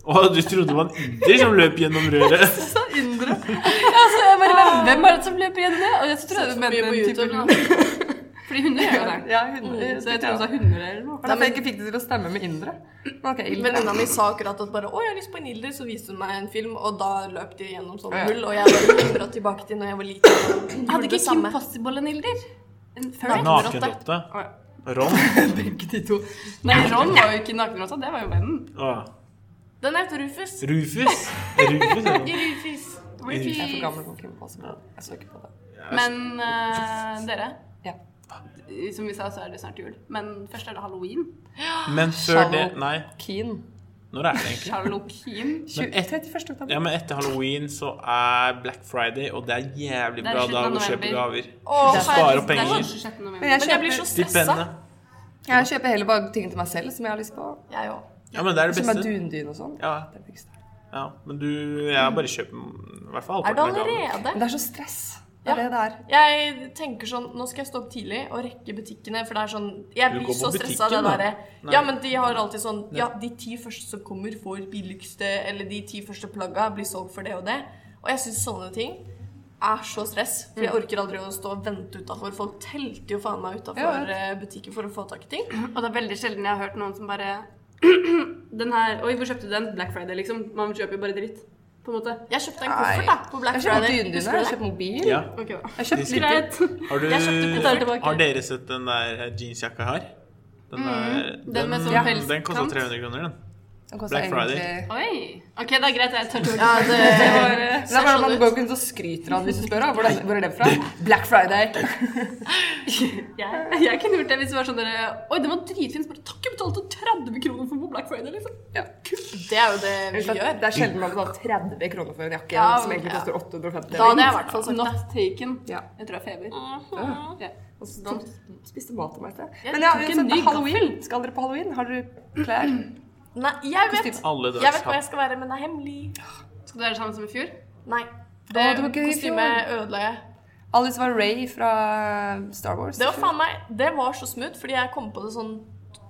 Speaker 2: Å, du trodde det var en inder som løp gjennom røret?
Speaker 1: Altså, jeg bare, hvem, hvem er det som løper gjennom det? Og jeg tror
Speaker 4: Så
Speaker 1: du
Speaker 4: mye
Speaker 1: mente
Speaker 4: på
Speaker 1: en type
Speaker 4: YouTube, da.
Speaker 1: lyd. Fordi hunder gjør jo det.
Speaker 3: Ja,
Speaker 4: Mm.
Speaker 3: hundre.
Speaker 1: Så jeg tror det er hunder eller noe.
Speaker 3: Var det derfor jeg ikke fikk det til å stemme med indre?
Speaker 4: Mm.
Speaker 3: Men Ok, indre.
Speaker 4: Venninna mi sa akkurat at bare 'Å, jeg har lyst på en ilder', så viste hun meg en film, og da løp de gjennom sånne
Speaker 3: Ja.
Speaker 4: hull, og jeg bare dundra tilbake til når jeg var liten. Jeg
Speaker 1: Hadde ikke
Speaker 4: Gjorde det
Speaker 1: Kim
Speaker 4: samme.
Speaker 1: Possible en ilder? En
Speaker 2: Nakenrotte. Ron.
Speaker 3: Begge de to.
Speaker 1: Nei, Ron var jo ikke nakenrotta, det var jo vennen.
Speaker 2: Å.
Speaker 4: Den heter Rufus.
Speaker 2: Ah. Rufus. Rufus er det.
Speaker 4: Rufus.
Speaker 3: Jeg er for
Speaker 1: Rufus.
Speaker 3: gammel for Kim Possible. Jeg så ikke på det.
Speaker 1: Men eh, dere,
Speaker 3: Ja.
Speaker 1: som vi sa, så er det snart jul. Men først er det halloween.
Speaker 2: Men før det Nei,
Speaker 3: Keen.
Speaker 2: når er det egentlig?
Speaker 1: Halloween.
Speaker 2: Men et-
Speaker 3: 31. oktober.
Speaker 2: Ja, men etter halloween så er Black Friday, og det er jævlig
Speaker 1: Det er
Speaker 2: bra
Speaker 1: slutten
Speaker 2: dag
Speaker 1: av
Speaker 2: å kjøpe
Speaker 1: november.
Speaker 2: gaver.
Speaker 4: Å,
Speaker 2: Spare
Speaker 4: herregud.
Speaker 1: Det er
Speaker 2: penger.
Speaker 1: 26. november.
Speaker 3: Men jeg
Speaker 4: Men jeg blir så
Speaker 3: kjøper,
Speaker 4: stressa.
Speaker 2: Stipendene.
Speaker 3: jeg kjøper heller bare ting til meg selv som jeg har lyst på.
Speaker 4: Jeg òg.
Speaker 2: Ja, men det er det
Speaker 3: Som er
Speaker 2: beste.
Speaker 3: dundyn og sånn.
Speaker 2: Ja,
Speaker 3: Det er det viktigste.
Speaker 2: ja. Men du Jeg bare kjøper i hvert fall
Speaker 4: Er det
Speaker 2: halvparten av gavene.
Speaker 3: Men
Speaker 4: allerede?
Speaker 3: det er så stress. Det er
Speaker 4: Ja.
Speaker 3: det det er.
Speaker 4: Jeg tenker sånn Nå skal jeg stå opp tidlig og rekke butikkene, for det er sånn Jeg
Speaker 2: Du
Speaker 4: blir
Speaker 2: går på
Speaker 4: så stressa av det
Speaker 2: butikken, da.
Speaker 4: derre
Speaker 2: Nei.
Speaker 4: Ja, men de har alltid sånn Ja, de ti første som kommer, får billigste Eller de ti første plagga blir solgt for det og det. Og jeg syns sånne ting er så stress. For
Speaker 3: Mm.
Speaker 4: jeg orker aldri å stå og vente utafor. Folk telte jo faen meg
Speaker 3: Ja,
Speaker 4: utafor butikken for å få tak i ting.
Speaker 1: Og det er veldig sjelden jeg har hørt noen som bare Den her Oi, hvor kjøpte du den? Black Friday, liksom. Man kjøper jo bare dritt. På en måte.
Speaker 4: Jeg kjøpte en
Speaker 3: Nei.
Speaker 4: koffert da, på Black
Speaker 3: Jeg kjøper
Speaker 4: Friday.
Speaker 3: dyndyne,
Speaker 4: Husker
Speaker 3: jeg
Speaker 4: du det?
Speaker 3: kjøper mobil.
Speaker 2: Ja.
Speaker 1: Ok, da.
Speaker 3: Jeg kjøper litt
Speaker 1: Greit.
Speaker 2: Har, du,
Speaker 4: Jeg kjøpte den tilbake.
Speaker 2: har dere sett den der jeansjakka jeg har? Den, der,
Speaker 1: Mm, den med sånn
Speaker 2: den, den kosta
Speaker 1: pelskant.
Speaker 2: 300 kroner, den.
Speaker 3: Den koster
Speaker 2: Black Friday.
Speaker 3: egentlig-
Speaker 1: Oi. OK, det er greit. Jeg tør ikke.
Speaker 4: Ja, det,
Speaker 1: eh,
Speaker 3: Men Det er
Speaker 1: sånn
Speaker 3: bare at man går ikke rundt og skryter av den hvis du spør. da. Hvor er- Hvor er den fra? Black Friday.
Speaker 1: Jeg, jeg kunne gjort det hvis det var sånn dere Oi, den var dritfin. Så bare, Takk, jeg betalte 30 kroner for på Black Friday, liksom.
Speaker 4: det er jo det vi
Speaker 3: Det
Speaker 4: gjør.
Speaker 3: er sjelden man betaler 30 kroner for en jakke
Speaker 1: Ja,
Speaker 3: som egentlig
Speaker 1: ja.
Speaker 3: koster 850
Speaker 4: Da hadde jeg i hvert fall sagt det.
Speaker 1: Not taken.
Speaker 3: Ja.
Speaker 1: Jeg tror jeg har feber. Ja.
Speaker 3: Og så tok- spiste mat til meg i sted.
Speaker 1: Jeg
Speaker 3: Men ja,
Speaker 1: tok en
Speaker 3: uansett,
Speaker 1: ny
Speaker 3: halloween. Skal dere på halloween? Har dere klær?
Speaker 4: Nei, jeg vet,
Speaker 3: Kostyme.
Speaker 2: Alle
Speaker 4: jeg vet hva jeg
Speaker 2: dagshatt.
Speaker 4: skal være, men det er hemmelig.
Speaker 1: Skal du være det samme som i fjor?
Speaker 4: Nei.
Speaker 3: Å, det var gøy i
Speaker 4: kostymet ødela jeg.
Speaker 3: Alice var Ray fra Star Wars.
Speaker 4: Det var faen meg Det var så smooth, fordi jeg kom på det sånn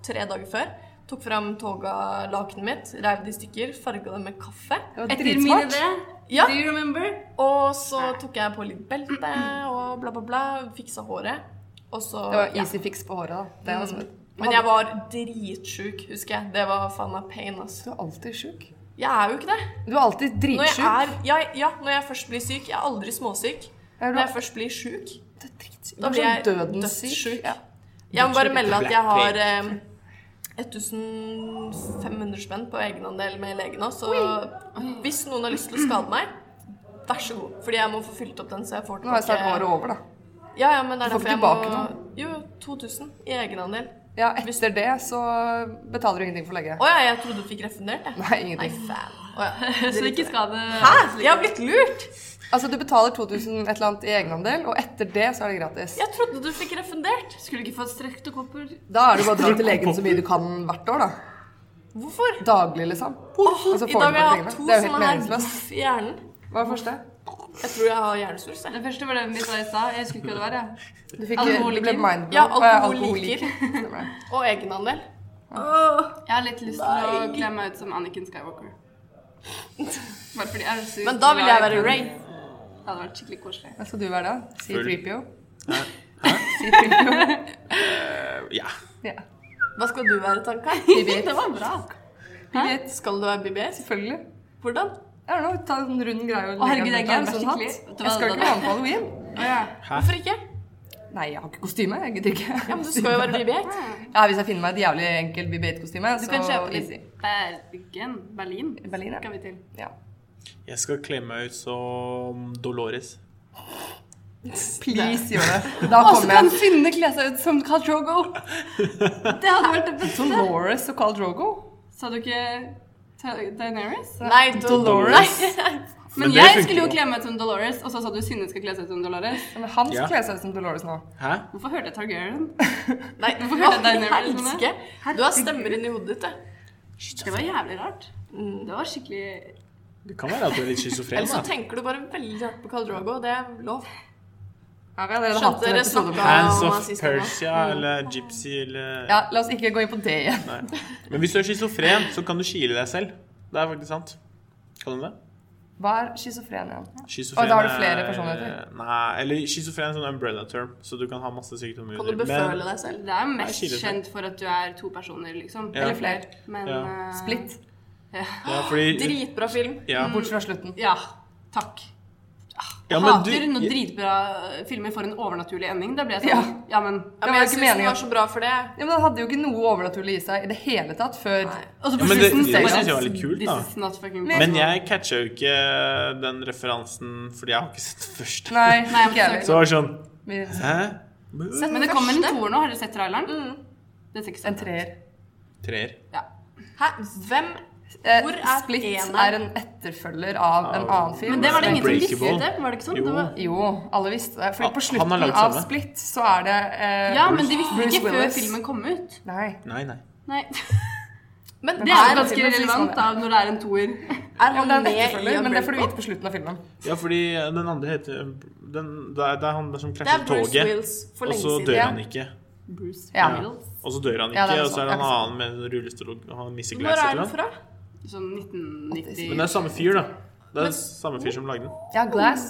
Speaker 4: tre dager før. Tok fram toga lakenet mitt, reiv det i stykker, farga det med kaffe.
Speaker 3: Det var
Speaker 1: Etter min
Speaker 3: dritsmart.
Speaker 1: idé.
Speaker 4: Ja.
Speaker 1: Do you remember?
Speaker 4: Og så tok jeg på litt belte og bla, bla, bla. Fiksa håret. Og så
Speaker 3: Det var
Speaker 4: ja.
Speaker 3: easy fix på håret, da. Det altså- var smooth.
Speaker 4: Mm. Men jeg var dritsjuk, husker jeg. Det var faen meg pain, altså.
Speaker 3: Du er alltid sjuk.
Speaker 4: Jeg er jo ikke det.
Speaker 3: Du er alltid
Speaker 4: Når jeg,
Speaker 3: dritsjuk.
Speaker 4: er, ja, ja, når jeg først blir syk Jeg er aldri småsyk.
Speaker 3: Er du-
Speaker 4: Når jeg først blir sjuk,
Speaker 3: Du er dritsjuk. Du
Speaker 4: Da
Speaker 3: er sånn
Speaker 4: blir jeg
Speaker 3: dødenssyk.
Speaker 4: dødssyk.
Speaker 3: Ja.
Speaker 4: Jeg må bare
Speaker 3: Dødssyk.
Speaker 4: melde at jeg har eh, 1500 spenn på egenandel med legen nå, så hvis noen har lyst til å skade meg, vær så god. Fordi jeg må få fylt opp den, så jeg får
Speaker 3: Nå er snart året
Speaker 4: tilbake
Speaker 3: over, da.
Speaker 4: Ja, ja, men det er
Speaker 3: Du får
Speaker 4: derfor jeg
Speaker 3: ikke
Speaker 4: må
Speaker 3: tilbake
Speaker 4: Jo, 2000 i egenandel.
Speaker 3: Ja, etter det så betaler du ingenting for lege.
Speaker 4: Å ja, jeg trodde du fikk refundert, jeg.
Speaker 3: Nei,
Speaker 4: Nei,
Speaker 3: ingenting.
Speaker 4: faen. Å ja.
Speaker 1: Så ikke skade
Speaker 4: Hæ? Jeg har blitt lurt!
Speaker 3: Altså, du betaler 2000 et eller annet i egenandel, og etter det så er det gratis.
Speaker 4: Jeg trodde du fikk refundert.
Speaker 1: Skulle du ikke få strektokopper?
Speaker 3: Da er det bare å dra til legen så mye du kan hvert år, da.
Speaker 4: Hvorfor?
Speaker 3: Daglig, liksom. Og så
Speaker 4: I
Speaker 3: får
Speaker 4: dag
Speaker 3: du
Speaker 4: har
Speaker 3: pengene.
Speaker 4: jeg hatt to
Speaker 3: Det er jo helt
Speaker 4: sånne her
Speaker 3: meningsløst.
Speaker 4: voff i hjernen.
Speaker 3: Hva var det første?
Speaker 4: Jeg tror jeg har hjernesvulst, jeg.
Speaker 1: Den første var den vi sa i stad. Jeg husker ikke hva det var. jeg.
Speaker 3: Du, fikk,
Speaker 1: Alkoholiker.
Speaker 3: du ble mindblown.
Speaker 4: Ja,
Speaker 3: på
Speaker 4: alkoholiker.
Speaker 3: Stemmer det.
Speaker 4: Og egenandel.
Speaker 1: Jeg har litt lyst til å kle meg ut som Anniken Skywalker. Bare fordi jeg er sur.
Speaker 4: Men da vil jeg være Ray.
Speaker 1: Det hadde vært skikkelig koselig.
Speaker 3: Hva skal du være da? C3PO?
Speaker 2: Ja.
Speaker 3: Ja.
Speaker 4: Hva skal du være, Tanka? det var bra.
Speaker 3: BB-8,
Speaker 4: Skal du være BBS?
Speaker 3: selvfølgelig.
Speaker 4: Hvordan?
Speaker 3: Jeg vet ikke, ta en rund greie og
Speaker 1: Å, herregud, jeg
Speaker 3: legge
Speaker 1: gleder meg
Speaker 3: an en sånn
Speaker 1: skikkelig.
Speaker 3: hatt.
Speaker 1: Vet du hva,
Speaker 3: Jeg skal
Speaker 1: da-
Speaker 3: ikke være med på halloween.
Speaker 4: Hvorfor ikke?
Speaker 3: Nei, jeg har ikke kostyme. Jeg gidder ikke.
Speaker 4: Ja, men Du skal jo være BB8.
Speaker 3: Ja, Hvis jeg finner meg et jævlig enkelt BB8-kostyme, så
Speaker 1: Du kan kjøpe litt
Speaker 3: easy.
Speaker 1: Bergen. Berlin.
Speaker 3: Berlin, ja.
Speaker 1: Skal vi til.
Speaker 3: Ja.
Speaker 2: Jeg skal kle meg ut som Dolores.
Speaker 3: Please gjør det. Da kommer jeg.
Speaker 5: finne kle seg ut som Carl Drogo.
Speaker 1: Det hadde vært det beste.
Speaker 3: Som Loris og Carl Drogo.
Speaker 1: Sa du ikke Ta- Daenerys?
Speaker 4: Nei, Dolores.
Speaker 1: Men
Speaker 2: det
Speaker 1: jeg
Speaker 2: funker
Speaker 1: skulle jo
Speaker 2: jo.
Speaker 1: kle meg ut som Dolores, og så sa du Synne skal kle seg ut som Dolores.
Speaker 3: Men han skal
Speaker 2: Ja.
Speaker 3: kle seg ut som Dolores nå.
Speaker 2: Hæ?
Speaker 1: Hvorfor hørte jeg Targaryen?
Speaker 4: Nei,
Speaker 1: Hvorfor hørte jeg deg
Speaker 4: Å,
Speaker 1: nervøs med det?
Speaker 4: helsike. Du har stemmer inni hodet ditt, du.
Speaker 1: Det var jævlig rart. Det var skikkelig
Speaker 2: Det kan være at du er litt schizofren.
Speaker 4: Eller så
Speaker 2: da.
Speaker 4: tenker du bare veldig hardt på Khal Drogo. Det er lov.
Speaker 3: Ja, vi har allerede
Speaker 4: Skjønte
Speaker 3: hatt en
Speaker 4: dere
Speaker 3: episode om
Speaker 4: snakket?
Speaker 3: det.
Speaker 2: Hands
Speaker 4: Ja,
Speaker 2: of
Speaker 4: nazistene.
Speaker 2: Persia eller Gypsy eller
Speaker 3: Ja, la oss ikke gå inn på det igjen.
Speaker 2: Nei. Men hvis du er schizofren, så kan du kile deg selv. Det er faktisk sant. Kan du det?
Speaker 3: Hva er schizofren igjen?
Speaker 2: Schizofren
Speaker 3: Og da har du flere
Speaker 2: er-
Speaker 3: personligheter?
Speaker 2: Nei, eller schizofren er en sånn umbrella term, så du kan ha masse sykdommer.
Speaker 4: Kan du
Speaker 2: under.
Speaker 4: beføle
Speaker 2: Men-
Speaker 4: deg selv?
Speaker 1: Det
Speaker 2: Det
Speaker 1: er
Speaker 2: er
Speaker 1: mest
Speaker 2: skikkelig sant.
Speaker 1: kjent for at du er to personer, liksom.
Speaker 2: Ja.
Speaker 1: Eller flere. Men
Speaker 2: Ja.
Speaker 1: eh,
Speaker 3: Splitt.
Speaker 2: Ja, fordi
Speaker 4: Dritbra film.
Speaker 2: ja.
Speaker 3: Bort fra slutten.
Speaker 1: Ja. Takk. Ah,
Speaker 2: ja, men
Speaker 1: Hater når
Speaker 2: du
Speaker 1: dritbra filmer får en overnaturlig ending. Da blir jeg sånn Ja, men
Speaker 4: Ja,
Speaker 3: Det
Speaker 4: men
Speaker 3: var ikke
Speaker 4: jeg syns den
Speaker 3: meningen.
Speaker 4: var så bra for det.
Speaker 3: Ja, men Det hadde jo ikke noe overnaturlig i seg i det hele tatt før
Speaker 4: Nei.
Speaker 1: Og så
Speaker 2: Ja,
Speaker 1: på
Speaker 2: men det-
Speaker 1: slutten
Speaker 2: det
Speaker 1: så er
Speaker 2: synes jeg var litt kult, da.
Speaker 1: This is not fucking
Speaker 3: Men-
Speaker 2: Men jeg catcha jo ikke den referansen, fordi jeg har ikke sett den først.
Speaker 3: Nei,
Speaker 1: Nei,
Speaker 3: ikke jeg
Speaker 2: Så det var sånn
Speaker 3: heller.
Speaker 2: Hæ?
Speaker 1: Men det kommer en toer nå. Har dere sett traileren? Det ser ikke
Speaker 3: Mm.
Speaker 1: sånn
Speaker 3: En
Speaker 1: ut.
Speaker 3: treer.
Speaker 2: Treer.
Speaker 4: Hæ? Hvem?
Speaker 3: Eh,
Speaker 4: Hvor er
Speaker 3: Split
Speaker 4: eneren?
Speaker 3: er en etterfølger av en
Speaker 2: Av-
Speaker 3: annen film.
Speaker 1: Men det var det ingen som visste,
Speaker 2: Unbreakable.
Speaker 1: var det ikke sånn?
Speaker 2: Jo.
Speaker 1: Det var...
Speaker 3: Jo, alle visste det.
Speaker 2: Ah,
Speaker 3: For på
Speaker 2: han har
Speaker 3: slutten
Speaker 2: laget
Speaker 3: av
Speaker 2: samme.
Speaker 3: Split så er det eh,
Speaker 1: Ja, men de visste
Speaker 3: Bruce
Speaker 1: ikke før
Speaker 3: Willis.
Speaker 1: filmen kom ut.
Speaker 3: Nei.
Speaker 2: Nei, nei.
Speaker 1: Nei.
Speaker 4: Men
Speaker 1: Det er ganske relevant da, når det er en toer.
Speaker 4: Er
Speaker 3: Ja, men
Speaker 4: han
Speaker 3: det er en
Speaker 4: med i
Speaker 3: etterfølger, men det får du
Speaker 4: Unbreakable?
Speaker 3: vite på slutten av filmen.
Speaker 2: Ja, fordi den andre heter den, det, er, det er han der som
Speaker 4: Det er
Speaker 2: krasjer
Speaker 4: Bruce
Speaker 2: toget,
Speaker 4: Wills for
Speaker 2: og
Speaker 4: lenge
Speaker 2: så
Speaker 4: siden.
Speaker 2: dør
Speaker 3: ja.
Speaker 2: han ikke.
Speaker 1: Bruce
Speaker 3: Ja.
Speaker 1: Willis.
Speaker 2: Og så dør han
Speaker 3: Ja,
Speaker 2: ikke,
Speaker 3: det er
Speaker 2: og så er det
Speaker 3: sant,
Speaker 2: en
Speaker 3: det er
Speaker 2: annen med rullestol og han mister
Speaker 4: Hvor
Speaker 2: glasset
Speaker 4: er
Speaker 2: eller
Speaker 4: den
Speaker 2: noe.
Speaker 4: fra?
Speaker 1: Sånn
Speaker 2: Men det
Speaker 1: 1990.
Speaker 2: er samme fyr, da. Det er samme fyr som lagde den.
Speaker 3: Ja, Glass.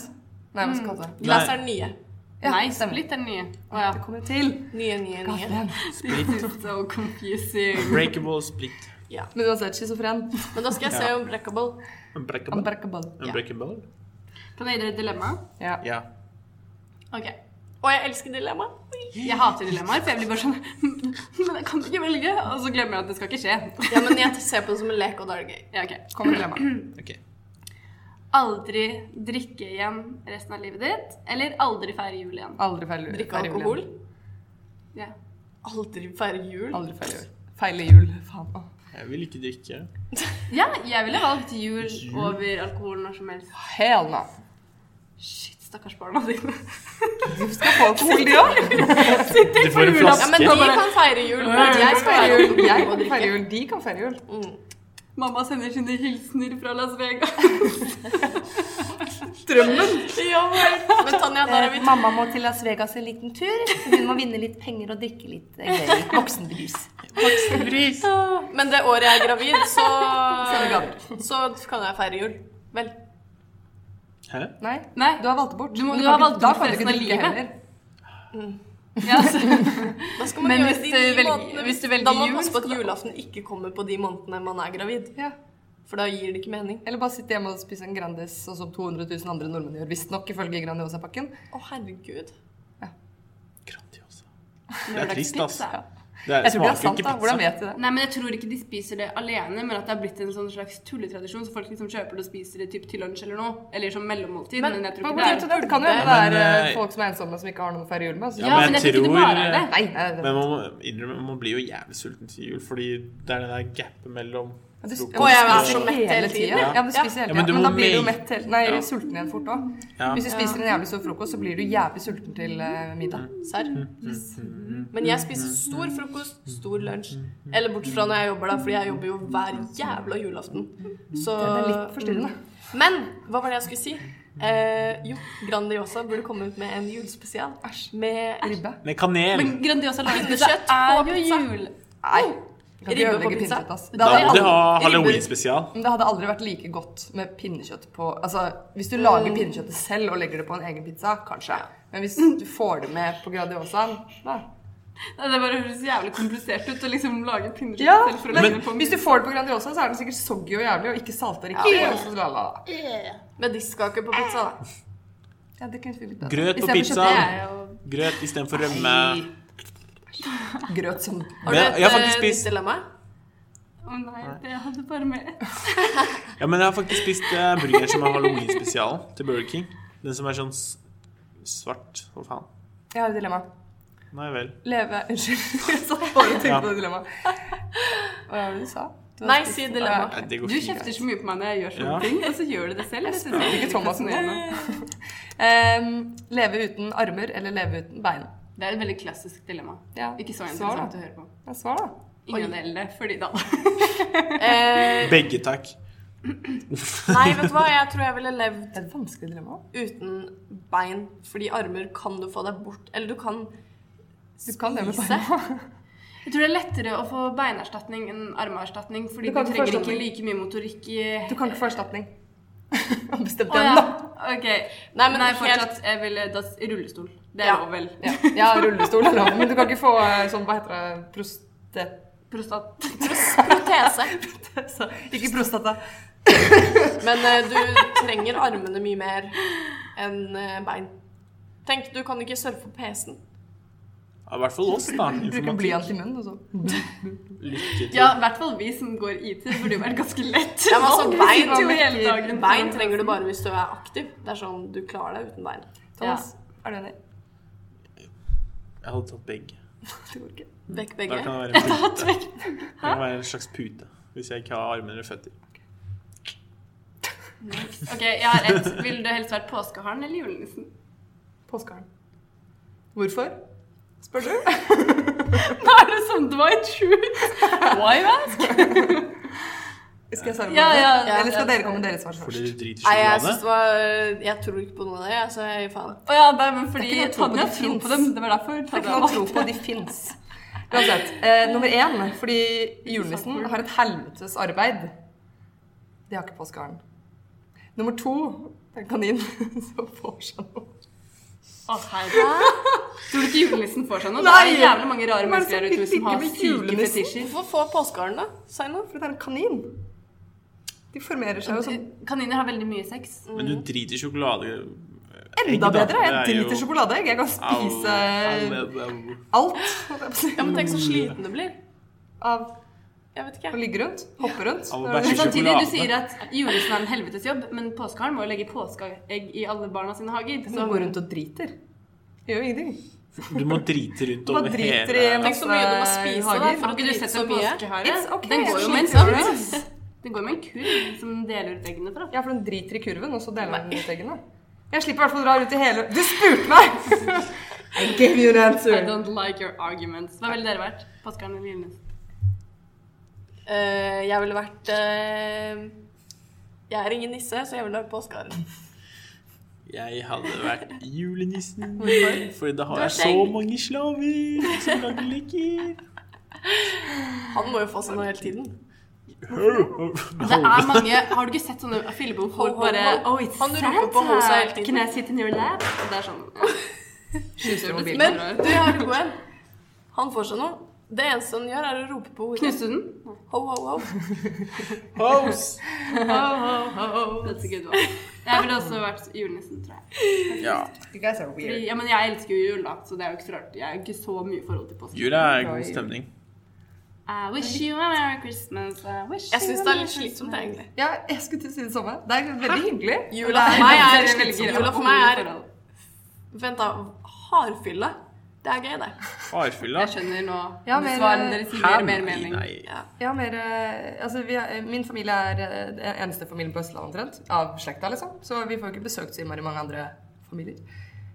Speaker 3: Nei, hva skal jeg kalle det?
Speaker 4: Glass
Speaker 2: Nei.
Speaker 4: er den nye.
Speaker 1: Mm. Nei,
Speaker 3: stemmer.
Speaker 1: Split er den nye. Å ja.
Speaker 3: Det kommer til.
Speaker 4: Nye, nye, nye.
Speaker 2: Split.
Speaker 1: So confusing.
Speaker 2: Breakable split.
Speaker 3: Men uansett, schizofren.
Speaker 4: Men da skal jeg se
Speaker 2: Ja.
Speaker 4: Unbreakable.
Speaker 2: Unbreakable.
Speaker 3: Unbreakable.
Speaker 2: Unbreakable?
Speaker 1: Kan jeg gi dere et dilemma?
Speaker 3: Ja.
Speaker 2: Ja.
Speaker 1: Ok.
Speaker 4: Og jeg elsker dilemma.
Speaker 1: Jeg hater dilemmaer, for jeg blir bare sånn Men jeg kan ikke velge. Og så glemmer jeg at det skal ikke skje.
Speaker 4: Ja, men jeg ser på det som en lek, og da er det gøy.
Speaker 1: Ja, ok.
Speaker 3: Kommer dilemma.
Speaker 2: Ok.
Speaker 1: Aldri drikke igjen resten av livet ditt, eller aldri feire jul igjen.
Speaker 3: Aldri feil jul.
Speaker 4: Drikke
Speaker 3: Feil jul igjen.
Speaker 4: alkohol.
Speaker 1: Ja.
Speaker 4: Aldri feire jul.
Speaker 3: Aldri feil jul. Feile jul. Faen. Åh.
Speaker 2: Jeg vil ikke drikke.
Speaker 1: Ja, jeg ville valgt jul over alkohol når som helst.
Speaker 3: Hell no.
Speaker 1: Shit, stakkars barna dine.
Speaker 3: Du skal få alkohol, de òg.
Speaker 2: Du får en
Speaker 4: Ja, men de
Speaker 2: flaske.
Speaker 4: kan feire jul. men
Speaker 3: Jeg skal
Speaker 4: Jeg skal
Speaker 3: feire
Speaker 4: være
Speaker 3: jul. Jeg kan feire jul. De kan feire jul.
Speaker 1: Mamma sender sine hilsener fra Las Vegas.
Speaker 4: Ja, vel. Men Tanja, der er vi
Speaker 3: Eh, mamma må til Las Vegas en liten tur. Hun må vinne litt penger og drikke litt eh, gøy. Voksenbrus.
Speaker 4: Men det året jeg er gravid, så
Speaker 3: er det gammel.
Speaker 4: Så kan jeg feire jul. Vel.
Speaker 2: Hæ?
Speaker 3: Nei,
Speaker 1: Nei.
Speaker 3: du har valgt det bort.
Speaker 1: Du må-
Speaker 3: Men
Speaker 1: du har
Speaker 3: kan ikke-
Speaker 1: valgt
Speaker 3: da
Speaker 1: bort
Speaker 3: kan du ikke
Speaker 1: resten av
Speaker 3: drikke
Speaker 1: livet.
Speaker 3: heller.
Speaker 1: Ja, altså.
Speaker 4: Da skal man
Speaker 1: Men
Speaker 4: gjøre
Speaker 1: hvis
Speaker 4: de
Speaker 1: du
Speaker 4: ni
Speaker 1: velger-
Speaker 4: månedene-
Speaker 1: hvis du velger
Speaker 4: Da må man
Speaker 1: jul,
Speaker 4: passe på at
Speaker 1: så-
Speaker 4: julaften ikke kommer på de månedene man er gravid.
Speaker 3: Ja.
Speaker 4: For da gir det ikke mening.
Speaker 3: Eller bare sitte hjemme og spise en Grandis, sånn som 200 000 andre nordmenn gjør, visstnok ifølge Grandiosa-pakken.
Speaker 4: Å, herregud.
Speaker 2: Grandiosa. Det er trist, ass.
Speaker 1: Pizza.
Speaker 2: Det er,
Speaker 3: Jeg tror det er
Speaker 2: smaker
Speaker 3: sant,
Speaker 2: ikke
Speaker 3: da. Hvordan
Speaker 2: pizza.
Speaker 3: vet du det?
Speaker 1: Nei, men jeg tror ikke de spiser det alene, men at det har blitt en sånn slags tulletradisjon, så folk liksom kjøper det og spiser det typ til lunsj eller noe, eller som mellommåltid, men, jeg tror
Speaker 3: Hvordan
Speaker 1: ikke
Speaker 3: vet
Speaker 1: det
Speaker 3: du
Speaker 1: er
Speaker 3: det? Det kan jo hende
Speaker 2: Men,
Speaker 3: det er eh,
Speaker 2: eh,
Speaker 3: folk som er ensomme, som ikke har noe å feire jul med.
Speaker 2: Ja,
Speaker 3: Altså.
Speaker 1: Ja,
Speaker 2: men
Speaker 1: men jeg
Speaker 2: jeg
Speaker 1: tror ikke det bare er
Speaker 2: tror-
Speaker 1: det.
Speaker 3: Nei, nei, det-
Speaker 2: Men man må innrømme, man blir jo jævlig sulten til jul, fordi det er den der gapet mellom
Speaker 3: Ja, du,
Speaker 2: frokost
Speaker 3: ja, du
Speaker 4: jeg er
Speaker 3: spiser
Speaker 4: så mett hele
Speaker 3: tiden.
Speaker 4: tiden,
Speaker 3: Ja,
Speaker 4: ja.
Speaker 3: du spiser
Speaker 2: Ja,
Speaker 3: hele
Speaker 2: men
Speaker 3: tiden. men,
Speaker 2: du må
Speaker 3: da blir du jo
Speaker 2: make-
Speaker 3: mett hele Nei,
Speaker 2: Ja.
Speaker 3: sulten igjen fort òg.
Speaker 2: Ja.
Speaker 3: Hvis du spiser en jævlig stor frokost, så blir du jævlig sulten til eh, middag.
Speaker 4: Serr. Men jeg spiser stor frokost, stor lunsj. Eller bortsett fra når jeg jobber, da, fordi jeg jobber jo hver jævla julaften. Så
Speaker 3: Det er litt forstyrrende.
Speaker 4: Men hva var det jeg skulle si? Eh, jo, Grandiosa burde komme ut med en julespesial med
Speaker 3: Ribbe.
Speaker 2: med kanel.
Speaker 1: Men Grandiosa lager Det
Speaker 4: Pinnekjøtt
Speaker 1: er
Speaker 4: og
Speaker 1: jo
Speaker 4: pizza.
Speaker 2: Oh!
Speaker 1: jul.
Speaker 3: Nei. Kan ikke
Speaker 4: Ribbe på
Speaker 3: ødelegge
Speaker 4: pizza?
Speaker 3: pinnekjøtt, ass. Det
Speaker 2: Da
Speaker 3: hadde
Speaker 2: må de
Speaker 3: aldri-
Speaker 2: ha
Speaker 3: ribber-
Speaker 2: halloween-spesial.
Speaker 3: Men det hadde aldri vært like godt med pinnekjøtt på Altså, hvis du lager
Speaker 2: Mm.
Speaker 3: pinnekjøttet selv og legger det på en egen pizza, kanskje. Men hvis du får det med på Grandiosaen da.
Speaker 1: Nei, Det bare høres jævlig komplisert ut å liksom lage pinnekjøtt
Speaker 3: Ja,
Speaker 1: selv for å
Speaker 3: men
Speaker 1: legge det på en
Speaker 3: hvis du får det på Grandiosa, så er den sikkert soggy og jævlig og ikke salta riktig.
Speaker 4: Ja.
Speaker 3: og så la, la, la.
Speaker 4: Mediskkake på pizza, da.
Speaker 3: Ja, det kunne vi litt bedre.
Speaker 2: Grøt på
Speaker 3: Istedenfor
Speaker 2: pizza.
Speaker 4: Det er jo
Speaker 2: Grøt istedenfor rømme.
Speaker 3: kjøtt- Grøt som
Speaker 4: Har du
Speaker 2: Men
Speaker 4: et
Speaker 2: jeg har faktisk
Speaker 4: eh,
Speaker 2: spist-
Speaker 4: dilemma?
Speaker 1: Å nei, det hadde bare med ett.
Speaker 2: Ja, men jeg har faktisk spist eh, burger som er halloween-spesial til Burger King. Den som er sånn s- svart. Hva faen.
Speaker 3: Jeg har et dilemma.
Speaker 2: Nei vel.
Speaker 3: Leve Unnskyld. Jeg satt bare og tenkte
Speaker 2: Ja.
Speaker 3: på det dilemmaet. Hva var det du sa? Du har
Speaker 4: Nei,
Speaker 3: spist- Ah,
Speaker 4: si dilemma.
Speaker 2: Nei, det
Speaker 1: Du
Speaker 2: går
Speaker 1: kjefter så mye på meg når jeg gjør sånne
Speaker 2: Ja.
Speaker 1: ting, og så gjør du det selv. Jeg synes det
Speaker 3: Ikke Thomas Nene. Em, leve uten armer eller leve uten bein?
Speaker 1: Det er et veldig klassisk dilemma.
Speaker 3: Ja.
Speaker 1: Ikke så
Speaker 3: Svar,
Speaker 1: interessant å høre på.
Speaker 3: da. Ja, svar, da.
Speaker 1: Ingen av delene, fordi da
Speaker 4: Eh,
Speaker 2: Begge, takk.
Speaker 4: nei, vet du hva? Jeg tror jeg ville levd
Speaker 3: Det er et vanskelig dilemma.
Speaker 4: uten bein, fordi armer kan du få deg bort Eller du kan
Speaker 3: Du kan leve med
Speaker 4: spise.
Speaker 1: Jeg tror det er lettere å få beinerstatning enn armeerstatning, fordi
Speaker 3: Du
Speaker 1: du,
Speaker 3: kan ikke få
Speaker 1: trenger ikke
Speaker 3: erstatning.
Speaker 1: like mye motorikk i
Speaker 3: Du kan ikke få erstatning. Han bestemte
Speaker 1: Å
Speaker 3: den,
Speaker 1: ja.
Speaker 3: da.
Speaker 1: OK. Nei,
Speaker 4: Nei, men
Speaker 1: men Nei,
Speaker 4: helt-
Speaker 1: fortsatt. Jeg ville da, i rullestol. Det er
Speaker 4: Ja.
Speaker 1: lov, vel.
Speaker 3: Ja, ja rullestol er lov, men du kan ikke få eh, sånn, hva heter det, proste...
Speaker 1: Prostat.
Speaker 4: Protese.
Speaker 3: Så, ikke prostata.
Speaker 4: Men eh, du trenger armene mye mer enn eh, bein. Tenk, du kan ikke surfe på PC-en.
Speaker 2: Ja, I hvert fall oss, da.
Speaker 3: Bruke
Speaker 2: Informatikk.
Speaker 3: blyant i munnen og sånn.
Speaker 2: Lykke til.
Speaker 1: Ja, i hvert fall vi som går IT. Det burde jo vært ganske lett.
Speaker 4: Ja, men altså,
Speaker 1: Vi
Speaker 4: bein,
Speaker 1: sitter jo hele dagen.
Speaker 4: bein trenger du bare hvis du er aktiv. Det er sånn du klarer deg uten bein.
Speaker 3: Thomas, er du enig?
Speaker 2: Jeg hadde tatt begge.
Speaker 3: Det går ikke.
Speaker 4: Vekk
Speaker 2: Da
Speaker 4: begge.
Speaker 2: kan det være en pute. Det kan være en slags pute. Hvis jeg ikke har armer eller føtter.
Speaker 1: OK, jeg har ett. Ville du helst vært påskeharen eller julenissen?
Speaker 3: Påskeharen. Hvorfor? Spør du?
Speaker 1: Da er det sånn det var i Truth. Why ask?
Speaker 3: Skal jeg svare på
Speaker 1: Ja,
Speaker 3: det?
Speaker 1: ja,
Speaker 3: Eller skal
Speaker 1: ja.
Speaker 3: dere komme med deres svar
Speaker 2: Fordi
Speaker 3: først?
Speaker 2: du driter i
Speaker 4: Nei, jeg synes
Speaker 2: sjokolade.
Speaker 4: det var eh, Jeg tror ikke på noe av det, jeg, så jeg gir faen.
Speaker 1: Å ja, nei, men fordi
Speaker 3: Det er ikke noe
Speaker 1: Tanja
Speaker 3: tro på det
Speaker 1: tror på
Speaker 3: finnes.
Speaker 1: dem. Det var derfor.
Speaker 3: Det er
Speaker 1: Tanja
Speaker 3: ikke noe å tro på, de fins. Uansett. Eh, nummer én, fordi julenissen har et helvetes arbeid. Det har ikke påskeharen. Nummer to, det er en kanin som får seg noe.
Speaker 1: Å, herregud. Tror du ikke julenissen får seg noe? Det
Speaker 3: Nei.
Speaker 1: er jævlig mange rare
Speaker 3: Hvem er det
Speaker 1: mennesker der
Speaker 3: som
Speaker 1: ute som har
Speaker 3: ligger med
Speaker 1: syke
Speaker 3: julenissen?
Speaker 1: fetisjer.
Speaker 4: Hvorfor får påskeharen det? Si noe.
Speaker 3: For det er en kanin. De formerer seg jo som
Speaker 1: Kaniner har veldig mye sex.
Speaker 2: Men du driter i sjokolade... eh, egg,
Speaker 3: enda
Speaker 2: da.
Speaker 3: bedre.
Speaker 2: Det
Speaker 3: Jeg
Speaker 2: er jo-
Speaker 3: driter i sjokoladeegg. Jeg kan
Speaker 2: Au,
Speaker 3: spise
Speaker 2: au, au, au.
Speaker 3: alt holdt jeg på å si,
Speaker 4: Ja, men Tenk så sliten du blir.
Speaker 3: av
Speaker 4: Jeg vet
Speaker 3: å
Speaker 4: ikke.
Speaker 3: ligge rundt, hoppe rundt.
Speaker 2: Av å bæsje
Speaker 3: Det er
Speaker 1: Men
Speaker 3: liksom-
Speaker 1: samtidig,
Speaker 2: sjokolade.
Speaker 1: du sier at julenissen er en helvetes jobb, men påskeharen må jo legge påskeegg i alle barna sine hager.
Speaker 3: Hun
Speaker 1: Så
Speaker 3: går rundt og driter. Gjør jo ingenting.
Speaker 2: Du må drite rundt
Speaker 3: Hva
Speaker 2: over hele
Speaker 3: driter i en
Speaker 4: Tenk så mye du må spise da,
Speaker 3: hager.
Speaker 4: for
Speaker 1: har
Speaker 4: å
Speaker 1: ikke du
Speaker 4: drite
Speaker 1: sett
Speaker 4: så
Speaker 1: en
Speaker 4: mye.
Speaker 1: påskehare?
Speaker 3: It's okay,
Speaker 1: Den går jo med en
Speaker 3: sliter
Speaker 1: kurv. Den går med en kurv som den deler ut eggene fra.
Speaker 3: Ja, for hun driter i kurven, og så deler hun ut eggene. Jeg slipper i hvert fall å dra ut i hele Du spurte meg! I gave you an
Speaker 1: I
Speaker 3: answer.
Speaker 1: don't like your arguments. Hva ville dere vært? Påskeharen eller julenissen?
Speaker 4: Eh, jeg ville vært eh, Jeg er ingen nisse, så jeg ville vært påskeharen.
Speaker 2: Jeg hadde vært julenissen.
Speaker 4: Hvorfor?
Speaker 2: Fordi da
Speaker 4: Du
Speaker 2: har
Speaker 4: har
Speaker 2: jeg så
Speaker 4: skjegg.
Speaker 2: mange slaver som lager leker.
Speaker 4: Han må jo få seg noe hele tiden.
Speaker 1: Det er mange Har du ikke sett sånne filmer hvor folk
Speaker 4: Ho, ho,
Speaker 1: bare
Speaker 4: ho.
Speaker 1: Oh, it's
Speaker 4: Han
Speaker 1: sad
Speaker 4: roper på hosa
Speaker 1: her.
Speaker 4: hele tiden.
Speaker 1: Can I sit in your lap? Og det er sånn
Speaker 3: Knuser mobilen.
Speaker 4: Men du, jeg har en god en. Han får seg noe. Det eneste han gjør, er å rope på hodet.
Speaker 1: Knuste du den?
Speaker 4: Ho, ho, ho.
Speaker 2: Hoes!
Speaker 1: That's a good one. Jeg ville også vært julenissen, tror jeg.
Speaker 2: Ja.
Speaker 3: You guys are
Speaker 1: Fordi,
Speaker 3: weird.
Speaker 1: ja, men jeg elsker jo jul, da, så det er jo ikke så rart. Jeg har ikke så mye forhold til påske.
Speaker 2: Jula er god stemning.
Speaker 1: I wish you a merry Christmas. I wish
Speaker 4: Jeg
Speaker 1: you a
Speaker 4: syns det er
Speaker 1: Merry
Speaker 4: litt slitsomt,
Speaker 1: Christmas.
Speaker 4: egentlig.
Speaker 3: Ja, jeg skulle til å si det samme. Det er veldig hyggelig.
Speaker 4: Jula for meg er slitsom. Jula for meg er
Speaker 1: forhold.
Speaker 4: Vent, da. Hardfylle. Det er gøy, det.
Speaker 2: Farfylla?
Speaker 1: Jeg skjønner nå.
Speaker 3: Ja,
Speaker 1: men,
Speaker 3: men- eh,
Speaker 1: svarene deres gir
Speaker 2: Hæ?
Speaker 1: mer, mer mening.
Speaker 2: Nei.
Speaker 4: Ja.
Speaker 3: Jeg har mer eh, Altså, vi er, min familie er eh, den eneste familien på Østlandet omtrent. Av slekta, liksom. Så vi får jo ikke besøkt så innmari mange andre familier.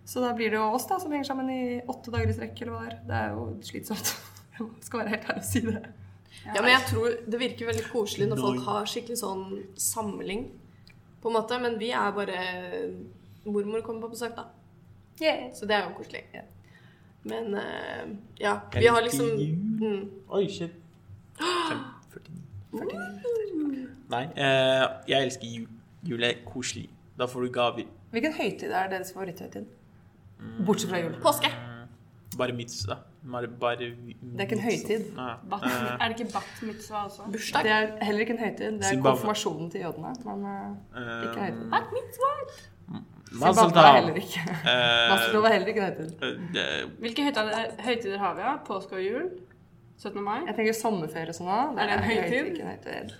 Speaker 3: Så da blir det jo oss, da, som henger sammen i åtte dager i strekk, eller hva det er. Det er jo slitsomt. Jeg skal være helt ærlig og si det.
Speaker 4: Ja, men jeg tror det virker veldig koselig når folk
Speaker 2: Noi.
Speaker 4: har skikkelig sånn samling, på en måte. Men vi er bare Mormor kommer på besøk, da. Så det er jo koselig. Men eh, ja, vi har liksom
Speaker 2: Heldig jul.
Speaker 4: mm,
Speaker 2: Oi, shit. 49. Nei, eh, jeg elsker jul. Jul er koselig. Da får du gaver.
Speaker 3: Hvilken høytid er deres favoritthøytid?
Speaker 2: Mm.
Speaker 3: Bortsett fra jul.
Speaker 4: Påske.
Speaker 2: Bare mitzvah. Bare, bare
Speaker 3: Det er ikke en høytid.
Speaker 2: Nei.
Speaker 1: Bat,
Speaker 2: Eh,
Speaker 1: er det ikke bat mitzvah også?
Speaker 3: Det er heller ikke en høytid. Det er
Speaker 2: Zimbabwe.
Speaker 3: konfirmasjonen til jødene. Men eh,
Speaker 2: eh,
Speaker 3: ikke høytid.
Speaker 1: Bat mitzvah?
Speaker 2: Mazel
Speaker 3: Zimbabwe er
Speaker 2: tov.
Speaker 3: heller ikke.
Speaker 2: Eh,
Speaker 3: Maslow er heller ikke en høytid.
Speaker 2: eh, det-
Speaker 1: Hvilke høytider, høytider har vi? Ja? Påske og jul? 17. mai?
Speaker 3: Jeg tenker sommerferie og sånn også.
Speaker 1: Er det en høytid?
Speaker 3: ikke en høytid.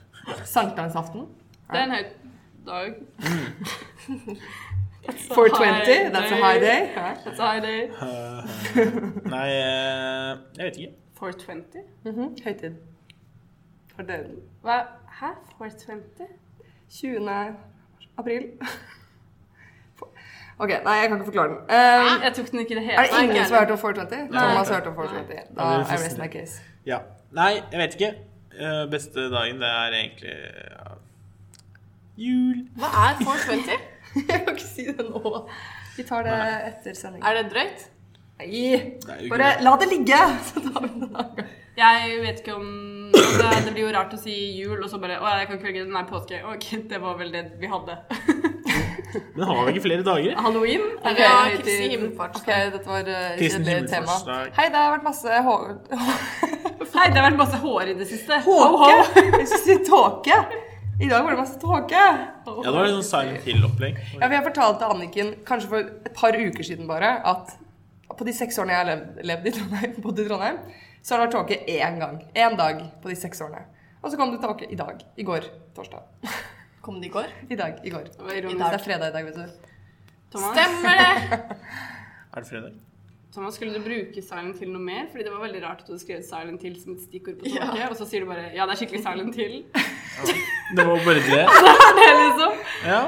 Speaker 3: Sankthansaften.
Speaker 1: Det er en høytdag.
Speaker 3: 420, that's a high day. Ja.
Speaker 1: That's a high day.
Speaker 2: Nei, eh, jeg vet ikke.
Speaker 1: 420?
Speaker 3: Mhm, Høytid. For døden.
Speaker 1: Hva? Hæ? 420?
Speaker 3: 20. april. OK, nei, jeg kan ikke forklare den. Um,
Speaker 1: Jeg tok den ikke i det hele
Speaker 3: er det ingen som har hørt om 420? Thomas har hørt om 420. Da
Speaker 2: Ja, men
Speaker 3: I
Speaker 2: det
Speaker 3: rest
Speaker 2: er
Speaker 3: my case.
Speaker 2: Ja. Nei, jeg vet ikke. Eh, beste dagen, det er egentlig ja, jul.
Speaker 4: Hva er 420?
Speaker 3: jeg kan ikke si det nå. Vi tar det etter sending.
Speaker 4: Er det drøyt?
Speaker 3: Nei,
Speaker 2: Det er jo ikke
Speaker 3: bare
Speaker 2: det.
Speaker 3: la det ligge! Så tar vi det en gang.
Speaker 1: Jeg vet ikke om altså, Det blir jo rart å si jul, og så bare Å, jeg kan ikke velge den. Nei, påske. Ok, det var vel det vi hadde.
Speaker 2: Men har vi ikke flere dager?
Speaker 1: Halloween? Er det
Speaker 4: Ja,
Speaker 1: høytid?
Speaker 4: Kristi himmelfartsdag.
Speaker 3: OK, dette var eh,
Speaker 2: Kristen
Speaker 3: kjedelig tema.
Speaker 2: himmelfartsdag.
Speaker 3: Hei, det har vært masse hår...
Speaker 1: Nei, det har vært masse hår i det siste.
Speaker 3: Tåke! Jeg skulle si tåke. I dag var det masse tåke.
Speaker 2: Ja, det var litt sånn Silent Hill-opplegg.
Speaker 3: Ja, for jeg fortalte Anniken kanskje for et par uker siden bare at på de seks årene jeg har levd, levd i Trondheim, bodd i Trondheim, så har det vært tåke én gang. Én dag på de seks årene. Og så kom det tåke i dag. I går. Torsdag.
Speaker 4: Kom det i går?
Speaker 3: I dag. I går.
Speaker 1: Det var ironisk.
Speaker 3: Det er fredag i dag, vet du.
Speaker 1: Thomas,
Speaker 4: Stemmer det!
Speaker 2: Er det fredag?
Speaker 1: Thomas, skulle du bruke silent til noe mer? Fordi det var veldig rart at du skrev silent til som et stikkord på
Speaker 4: Ja.
Speaker 1: tåke, og så sier du bare ja, det er skikkelig silent til.
Speaker 2: Det var bare det.
Speaker 1: Det er liksom
Speaker 2: Ja.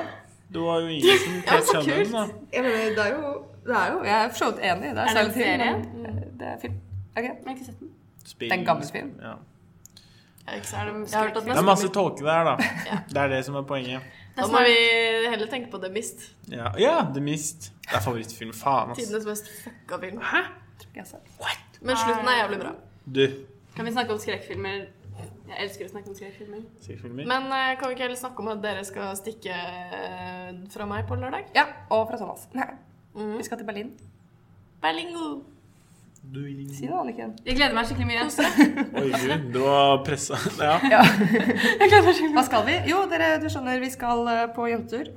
Speaker 2: Det var jo ingen som
Speaker 4: Ja, så
Speaker 2: catcha den,
Speaker 4: kult.
Speaker 2: da.
Speaker 3: Jeg mener, det er jo Det er jo Jeg er for så vidt enig. Det er,
Speaker 1: Er det en
Speaker 3: særlig til,
Speaker 1: serie? Mm.
Speaker 3: men, eh, Det er film. Ok.
Speaker 1: Jeg har ikke sett den.
Speaker 2: Spill.
Speaker 3: Det er en gammel film.
Speaker 2: Ja.
Speaker 4: Jeg, ikke så- jeg har hørt at
Speaker 2: Det er masse tåke der, da. Det er det som er poenget.
Speaker 4: Da må vi heller tenke på The Mist.
Speaker 2: Ja, ja The Mist. Det er favorittfilm. Faen, ass.
Speaker 4: Tidenes mest fucka film.
Speaker 3: Tror ikke jeg har sett den.
Speaker 4: Men slutten er jævlig bra.
Speaker 2: Du,
Speaker 1: Kan vi snakke om skrekkfilmer? Jeg elsker å snakke om skrekkfilmer.
Speaker 2: sier filmer.
Speaker 4: Men eh, kan vi ikke heller snakke om at dere skal stikke eh, fra meg på lørdag?
Speaker 3: Ja, og fra Thomas. Nei.
Speaker 1: Mm.
Speaker 3: Vi skal til Berlin.
Speaker 4: Berlingo!
Speaker 2: Du,
Speaker 3: Si det, Anniken.
Speaker 1: Jeg gleder meg skikkelig mye.
Speaker 2: Oi, gud, du var pressa. Ja.
Speaker 3: Hva skal vi? Jo, dere, du skjønner, vi skal eh, på jentetur.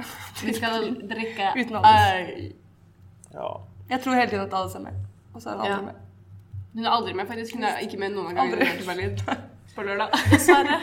Speaker 1: Vi skal drikke
Speaker 3: Uten Alice.
Speaker 4: Eh,
Speaker 2: ja.
Speaker 3: Jeg tror hele tiden at Alice er med. Og så er hun
Speaker 4: Ja.
Speaker 3: aldri med.
Speaker 1: Hun er aldri med, faktisk. Hun er ikke med noen av gangene vi
Speaker 3: Aldri.
Speaker 1: har vært i Berlin. På lørdag.
Speaker 4: Dessverre.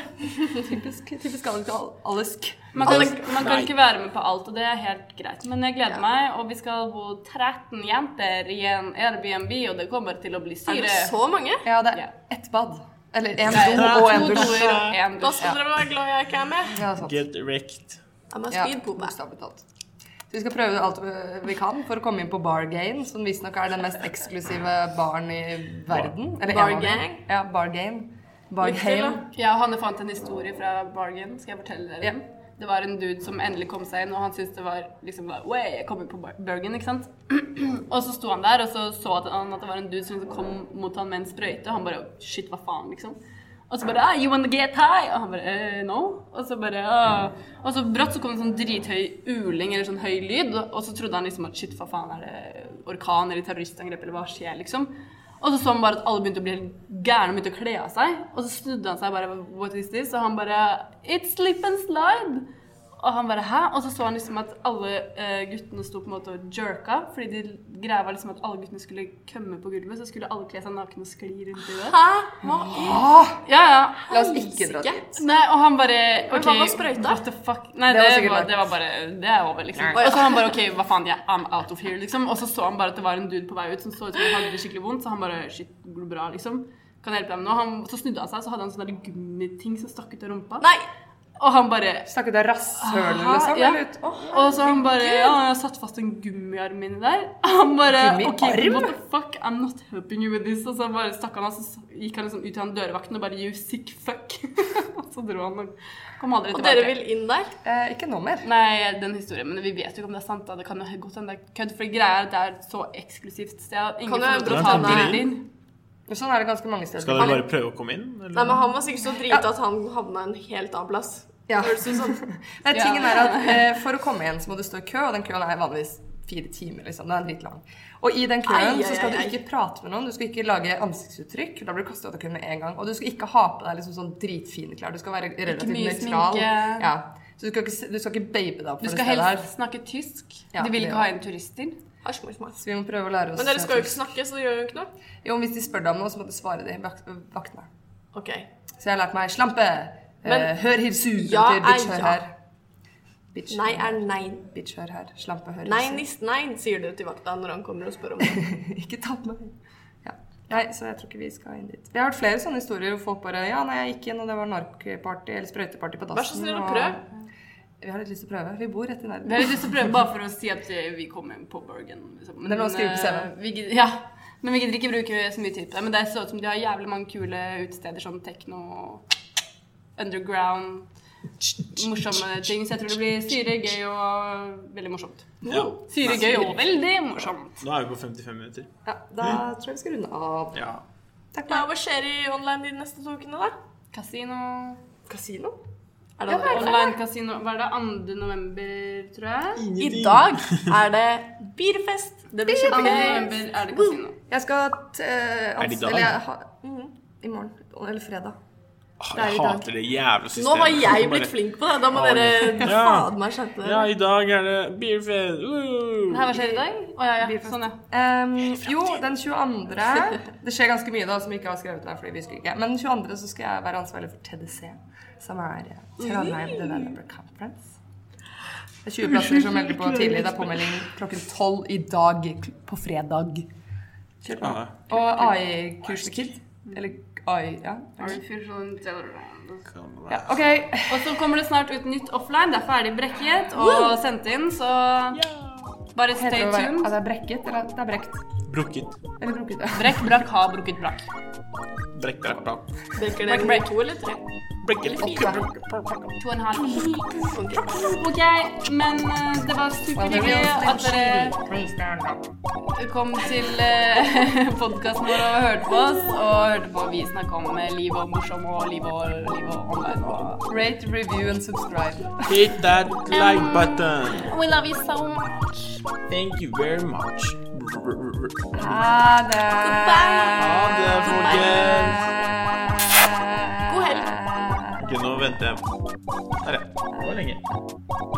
Speaker 3: Typisk, typisk Alice. Al- Alisk.
Speaker 1: Man kan,
Speaker 2: Alle-
Speaker 1: man kan
Speaker 2: Nei.
Speaker 1: ikke være med på alt, og det er helt greit. Men jeg gleder
Speaker 4: Ja.
Speaker 1: meg, og vi skal bo 13 jenter i en Airbnb, og det kommer til å bli
Speaker 4: Er
Speaker 1: syre.
Speaker 4: det så mange?
Speaker 3: Ja, det
Speaker 1: Ja.
Speaker 3: er ett bad. Eller én
Speaker 1: Nei,
Speaker 3: do og en
Speaker 1: To
Speaker 3: dusj.
Speaker 1: doer og en
Speaker 4: Da
Speaker 1: dusj.
Speaker 4: skal dere være glad jeg ikke er med.
Speaker 3: Ja, sant.
Speaker 2: Get wrecked.
Speaker 4: Jeg må
Speaker 3: Ja,
Speaker 4: speedpope.
Speaker 3: bokstavelig talt. Så vi skal prøve alt eh, vi- vi kan for å komme inn på Bar Gain, som visstnok er den mest eksklusive baren i verden. Eller en
Speaker 4: Bar
Speaker 3: av dem.
Speaker 4: Gang?
Speaker 3: Ja, Bar Gain. Bar
Speaker 4: Lykke til,
Speaker 3: Gain.
Speaker 4: da.
Speaker 1: Jeg og Hanne fant en historie fra Bargain. Skal jeg fortelle dere
Speaker 3: Ja.
Speaker 1: den? Det var en dude som endelig kom seg inn, og han syntes det var liksom bare, Way, jeg kom inn på Bar- Bergen, ikke sant? og så sto han der, og så så at han at det var en dude som kom mot han med en sprøyte, og han bare Shit, hva faen, liksom. Og så bare ah, You wanna get high? Og han bare eh, No. Og så bare ah. Og så brått så kom det en sånn drithøy uling eller sånn høy lyd, og så trodde han liksom at shit, hva faen, er det orkan eller terroristangrep, eller hva skjer, liksom? Og så så han bare at alle begynte å bli helt gærne og begynte å kle av seg. Og så snudde han seg bare What is this? Og han bare It's slip and slide! Og han bare Hæ? Og så så han liksom at alle eh, guttene sto på en måte og jerka. Fordi de greia var liksom at alle guttene skulle kømme på gulvet, så skulle alle kle seg nakne og skli rundt i det.
Speaker 4: Hæ? Hva i
Speaker 3: Ah!
Speaker 1: Ja, ja.
Speaker 3: La oss ikke dra dit.
Speaker 1: Nei, og han bare
Speaker 4: Men
Speaker 1: ok,
Speaker 4: hva var sprøyta?
Speaker 1: What the fuck? Nei,
Speaker 3: Det
Speaker 1: det
Speaker 3: var
Speaker 1: var,
Speaker 3: sikkert
Speaker 1: det var,
Speaker 3: rart.
Speaker 1: bare Det er over, liksom. Og så han bare OK, hva faen, jeg I'm out of here, liksom. Og så så han bare at det var en dude på vei ut som så ut som han hadde det skikkelig vondt, så han bare Shit, går det bra, liksom? Kan jeg hjelpe deg med noe? Han, så snudde han seg, så hadde han sånne der gummiting som stakk ut av rumpa.
Speaker 4: Nei!
Speaker 1: Og han bare
Speaker 3: Snakket du rasshølet,
Speaker 1: Aha,
Speaker 3: liksom?
Speaker 1: ja.
Speaker 3: Eller ut? Åh.
Speaker 1: Og så han bare Ja, jeg har satt fast en gummiarm inni der. Han bare OK,
Speaker 3: Gummiarm?
Speaker 1: what the fuck, I'm not helping you with this. Og så bare stakk han av, så gikk han liksom ut til han dørvakten og bare You sick fuck. og så dro han og kom aldri
Speaker 4: Og
Speaker 1: tilbake.
Speaker 4: dere vil inn der?
Speaker 3: Eh, ikke nå mer.
Speaker 1: Nei, den historien, men vi vet jo ikke om det er sant. da. Det kan jo godt hende det er kødd, for greia er at det er et så eksklusivt sted. at Ingen
Speaker 4: Kan
Speaker 1: får
Speaker 4: jeg
Speaker 1: lov til
Speaker 2: dra
Speaker 1: å ta
Speaker 2: til
Speaker 1: bilder.
Speaker 3: Men sånn er det ganske mange steder.
Speaker 2: Skal dere bare prøve å komme inn?
Speaker 4: Nei,
Speaker 2: Eller?
Speaker 4: men han var sikkert så drita at han havna en helt annen plass.
Speaker 3: Ja.
Speaker 4: Høres ut som.
Speaker 3: Nei, tingen er at eh, For å komme igjen så må du stå i kø, og den køen er vanligvis fire timer. liksom, Den er dritlang. Og i den køen
Speaker 4: Ai, ai,
Speaker 3: så skal
Speaker 4: ai,
Speaker 3: du
Speaker 4: ai.
Speaker 3: ikke prate med noen, du skal ikke lage ansiktsuttrykk. Da blir du kasta ut av køen med en gang. Og du skal ikke ha på deg liksom sånn dritfine klær. Du skal være relativt
Speaker 5: mye
Speaker 3: nøytral.
Speaker 5: sminke.
Speaker 3: Ja. Så du skal, ikke, du skal ikke babe deg opp
Speaker 5: Du
Speaker 3: for det
Speaker 5: skal
Speaker 3: stedet her.
Speaker 5: helst snakke tysk.
Speaker 3: Ja,
Speaker 5: de vil
Speaker 3: det
Speaker 5: ikke
Speaker 3: også.
Speaker 5: ha inn turister.
Speaker 4: Hasj, mors, mors.
Speaker 3: Så vi må prøve å lære oss
Speaker 4: Men dere skal jo ikke
Speaker 3: tysk.
Speaker 4: snakke, så det gjør jo ikke noe.
Speaker 3: Jo, hvis de spør deg om noe, så må du svare de vak vaktene.
Speaker 4: Ok.
Speaker 3: Så jeg har lært meg slampe.
Speaker 4: Men-
Speaker 3: eh, hør hirsu.
Speaker 4: Ja,
Speaker 3: betyr bitch,
Speaker 4: ei,
Speaker 3: hør
Speaker 4: ja.
Speaker 3: her. Bitch,
Speaker 4: Nei
Speaker 3: hør her.
Speaker 4: er nei.
Speaker 3: bitch, hør her. Slampe, hør
Speaker 4: Nei,
Speaker 3: hirsu.
Speaker 4: nissen, nei, sier du til vakta når han kommer og spør om det.
Speaker 3: Ikke ta på meg. Ja. Nei, så jeg tror ikke vi skal inn dit. Vi har hørt flere sånne historier hvor folk bare Ja, nei, jeg gikk inn, og det var narkparty eller sprøyteparty på dassen.
Speaker 4: Vær så snill og
Speaker 3: og-
Speaker 4: prøv.
Speaker 3: Vi har litt lyst til å prøve. Vi bor rett i
Speaker 1: Vi har
Speaker 3: nærheten.
Speaker 1: litt lyst til å prøve bare for å si at eh, vi kommer på Bergen. Liksom.
Speaker 3: Men det er lov å skrive
Speaker 1: eh,
Speaker 3: på CV.
Speaker 1: vi gid- Ja, men vi gidder ikke bruke så mye tid på det. Men det ser ut som de har jævlig mange kule utesteder, sånn tekno, underground, morsomme ting. Så jeg tror det blir syre, gøy og veldig morsomt.
Speaker 2: Ja.
Speaker 1: Syre, gøy og veldig morsomt.
Speaker 2: Nå er vi på 55 minutter.
Speaker 3: Ja, da tror jeg vi skal runde av.
Speaker 2: Ja.
Speaker 3: Takk for
Speaker 4: Ja,
Speaker 3: meg.
Speaker 4: hva skjer i online de neste to ukene, da?
Speaker 1: Kasino.
Speaker 3: Kasino?
Speaker 4: Er det andre?
Speaker 1: Online kasino. Hva er det? 2. november, tror jeg?
Speaker 4: I dag er det beerfest. Det blir
Speaker 1: 2.
Speaker 4: kjempegøy.
Speaker 1: november er det kasino.
Speaker 3: Jeg skal t eh,
Speaker 2: Er det i dag?
Speaker 3: Eller jeg har
Speaker 4: Mhm.
Speaker 3: I morgen. Eller fredag.
Speaker 2: Åh,
Speaker 3: Det er i
Speaker 2: Ah, Jeg
Speaker 3: dag.
Speaker 2: hater det jævla systemet.
Speaker 4: Nå har jeg
Speaker 2: Bare-
Speaker 4: blitt flink på det. Da må
Speaker 2: Ja,
Speaker 4: dere
Speaker 2: men- Ja.
Speaker 4: fader meg skjerpe
Speaker 2: Ja,
Speaker 4: dere.
Speaker 2: i dag er det beerfest. Uh.
Speaker 1: Her, hva skjer i dag? Å ja, ja. Sånn, ja.
Speaker 3: Ehm, jo, den 22. Det skjer ganske mye da som vi ikke har skrevet ned. fordi vi skulle ikke. Men den 22. så skal jeg være ansvarlig for TDC, som er eh, Trondheim Developer Conference. Det er 20 plasser som melder på tidlig. Det er påmelding klokken 12 i dag kl- på fredag. Kjør på.
Speaker 2: Ja.
Speaker 3: Og AI-kurs for kid. Eller AI, ja.
Speaker 1: Artificial intelligence.
Speaker 3: ja. OK.
Speaker 1: Og så kommer det snart ut nytt offline. Derfor er de brekket og sendt inn, så bare stay
Speaker 3: Heter det å være-
Speaker 1: tuned.
Speaker 3: er det brekket? Eller det er brekt?
Speaker 2: Brukket.
Speaker 3: Eller brukket?
Speaker 5: Brekk, brakk, ha, brukket, brakk.
Speaker 2: Brekk, brekk, brekk.
Speaker 4: Drikker dere to eller tre?
Speaker 2: Brekket.
Speaker 1: To og en halv.
Speaker 4: Ok.
Speaker 1: OK, men eh, det var superhyggelig at dere kom til podkasten vår og hørte på oss. Og hørte på vi snakke om eh, liv og morsom og liv og, liv og online. Og
Speaker 3: Rate, review and subscribe.
Speaker 2: Hit that like button.
Speaker 1: we love you so much.
Speaker 2: Thank you very much.
Speaker 3: Ha det!
Speaker 2: Ha det, folkens.
Speaker 4: God helg.
Speaker 2: Ok, nå venter jeg. Der, ja. Det var lenge.